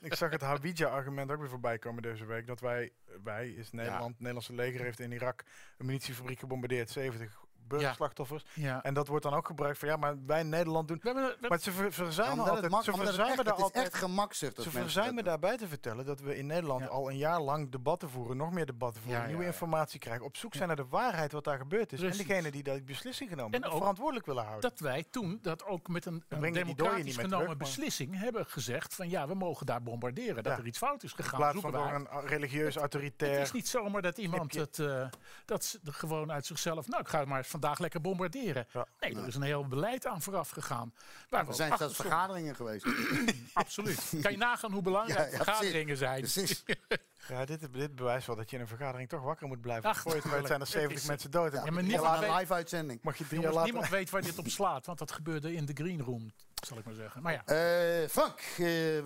ik zag het Hawija-argument ook weer voorbij komen deze week. Dat wij, wij is Nederland, het Nederlandse leger heeft in Irak een munitiefabriek gebombardeerd, 70 burgerslachtoffers.
Ja.
En dat wordt dan ook gebruikt van ja, maar wij in Nederland doen.
We hebben, we-
Maar ze ver- verzuimen
Omdat het
altijd,
mak-
ze
omdat het
verzuimen
echt-
daar
het is echt
altijd.
gemakzucht. als
Ze
mensen dat
verzuimen
doen.
daarbij te vertellen dat we in Nederland
Ja.
al een jaar lang debatten voeren, nog meer debatten voeren,
Ja, ja,
nieuwe
ja.
informatie krijgen, op zoek zijn naar de waarheid wat daar gebeurd is.
Precies.
En degene die dat beslissing genomen
En
hebben,
ook
verantwoordelijk willen houden.
dat wij toen dat ook met een, een
breng je die dooien
democratisch
niet meer
genomen
terug, maar-
beslissing hebben gezegd van ja, we mogen daar bombarderen, dat
Ja.
er iets fout is
in
gegaan.
plaats van
zoeken we
door
uit.
een religieus
Het
autoritair
is niet zomaar dat iemand
Heb
het, eh, dat ze er gewoon uit zichzelf, nou ik ga maar vandaag lekker bombarderen.
Ja.
Nee, er is een heel beleid aan vooraf gegaan. Waar we
Er
ook
zijn
achter
zelfs
stonden.
vergaderingen geweest.
Absoluut. Kan je nagaan hoe belangrijk
Ja, ja, precies.
vergaderingen zijn.
Precies.
Ja, dit, dit bewijst wel dat je in een vergadering toch wakker moet blijven.
Ach,
Voor je het weet zijn er
tuurlijk.
70
Is-
mensen dood.
Ja, maar
Ja,
niemand
maar
weet-
een live uitzending.
Mag je drie jaar
Jongens,
later...
niemand weet waar dit op slaat, want dat gebeurde in de green room, zal ik maar zeggen. Maar ja,
Eh, Frank, eh,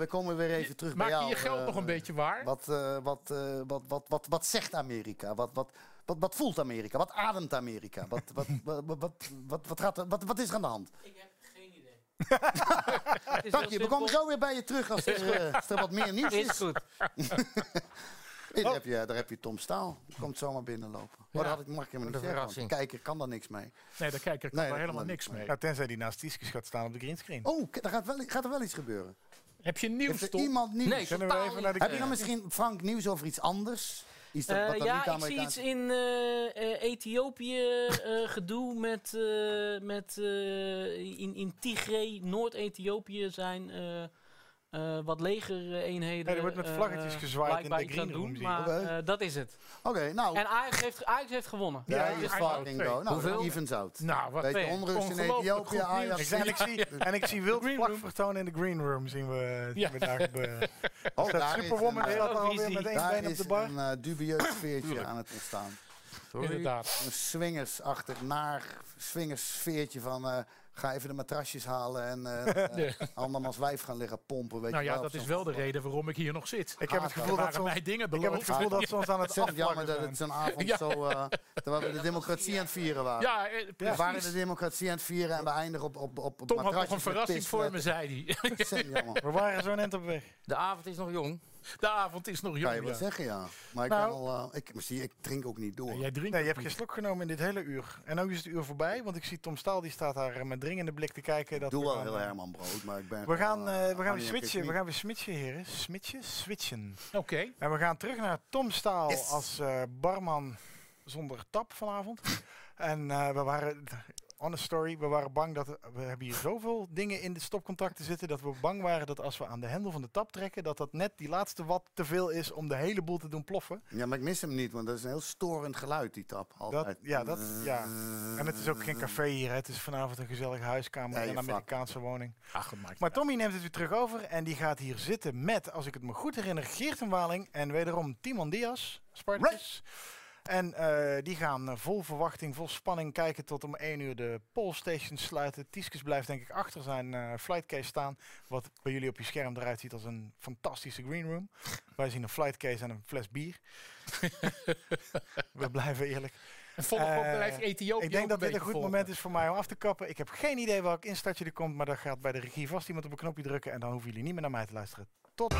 we komen weer even terug bij
maak
jou.
je je geld
Eh,
nog een beetje waar?
Wat, eh, wat, eh, wat, wat, wat, wat zegt Amerika? Wat, wat, wat, wat voelt Amerika? Wat ademt Amerika? Wat, wat, wat, wat, wat, wat, wat gaat, er- wat, wat is er aan de hand?
Ik heb geen idee. Het is
Dank
heel
je, we komen
simpel.
zo weer bij je terug als er, eh, als er wat meer nieuws
Is
is.
goed.
Hey,
Oh.
daar, heb je, daar heb je Tom Staal. Die komt zomaar binnenlopen. Oh, dat had ik, mag ik helemaal
de
niet zeggen. want de
verrassing.
kijker kan daar niks mee.
Nee, daar kijk ik
Nee,
er
dat-
helemaal
dat-
niks mee.
Nou, tenzij die naast Tiskus gaat staan op de greenscreen.
Oh, k- daar gaat, wel, gaat er wel iets gebeuren.
Heb je
Heeft
nieuws,
er
Tom?
iemand nieuws?
Nee,
Kunnen we
totaal
even naar de
niet.
Heb je dan misschien, Frank, nieuws over iets anders? Iets dat,
Eh,
wat dan niet
ja, ik zie
Amerikaans
iets in eh, eh, Ethiopië eh, gedoe met, eh, met eh, in, in Tigray, Noord-Ethiopië zijn eh, eh, wat legereenheden.
Ja, er wordt met
eh,
vlaggetjes
eh,
gezwaaid in
blijkbaar
de
iets aan
green room,
doen,
zie je.
Maar
Oké.
eh, dat is het.
Oké, nou.
En Ajax heeft, Ajax heeft gewonnen.
ja,
Ja,
is
Ajax
fucking
ook.
go. Nou,
Hoeveel?
evens out.
Nou, wat
Beetje
fair.
onrust in
Ongelooflijk
Ethiopië,
goed nieuws.
Ajax.
En ik zie, en ik zie wild vlag vertonen in de green room, zien we, zien we daar gebeuren.
Oh,
Staat
daar is
Superwoman
een,
staat alweer
Eurovisie.
met één
daar
been op
is
de bar.
een eh, dubieus sfeertje aan het ontstaan.
Sorry.
Inderdaad.
Een swingersachtig, naar swingerssfeertje van... eh, ga even de matrasjes halen en eh eh, andermans wijf gaan liggen pompen. Weet
Nou
je
ja,
wel,
dat
of
is
zo.
wel de reden waarom ik hier nog zit. Ah.
Ik heb het
Er
gevoel dat ze
waren
ons,
mij dingen
ik heb het
beloofd.
gevoel dat ze ons aan het
Ontzettend jammer
afvlakken
dat
zijn.
het zo'n avond
Ja.
zo... eh terwijl we de democratie aan het vieren waren.
Ja, eh,
We waren de
precies.
democratie aan het vieren en we eindigen op, op, op, op
Tom had nog een
matrasjes met
verrassing voor me,
pisvlekken.
zei hij.
Ontzettend jammer.
We waren zo net op weg.
De avond is nog jong.
De avond is nog
Kan je
jong.
wel
ja.
zeggen, ja. Maar ik,
Nou.
ben al, eh, ik, maar zie je, ik drink ook niet door.
Jij drinkt
Nee, je
ook
hebt geen slok genomen in dit hele uur. En nu is het uur voorbij, want ik zie Tom Staal, die staat daar eh, met dringende blik te kijken. Dat
Ik doe
we
wel
gaan,
heel
eh,
Herman Brood, maar ik ben...
We gaan,
gewoon,
eh,
eh,
we gaan
Arnie
weer
en
switchen, we
Kikmi.
gaan weer switchen, heren. Switchen, switchen.
niet. Oké.
En we gaan terug naar Tom Staal
Yes.
als eh, barman zonder tap vanavond. en eh, we waren, honest story, we waren bang dat, we hebben hier zoveel dingen in de stopcontacten zitten, dat we bang waren dat als we aan de hendel van de tap trekken, dat dat net die laatste wat te veel is om de hele boel te doen ploffen.
Ja, maar ik mis hem niet, want dat is een heel storend geluid, die tap.
Dat,
Altijd.
ja, dat, ja. En het is ook geen café hier, hè. het is vanavond een gezellige huiskamer
Ja,
in
je
een
vak.
Amerikaanse woning.
Ach, het Ah, maakt
Maar Tommy neemt het weer terug over en die gaat hier zitten met, als ik het me goed herinner, Geert en Waling en wederom Timon Diaz, Spartacus. En eh, die gaan eh, vol verwachting, vol spanning kijken tot om 1 uur de polstations sluiten. Tiskus blijft denk ik achter zijn eh, flightcase staan, wat bij jullie op je scherm eruit ziet als een fantastische green room. Wij zien een flightcase en een fles bier. We blijven eerlijk.
En volg ook
Eh,
blijft Ethiopië
Ik denk
ook
dat dit
beetje
een goed
volgen.
moment is voor mij om af te kappen. Ik heb geen idee welk instartje er komt, maar daar gaat bij de regie vast iemand op een knopje drukken en dan hoeven jullie niet meer naar mij te luisteren. Tot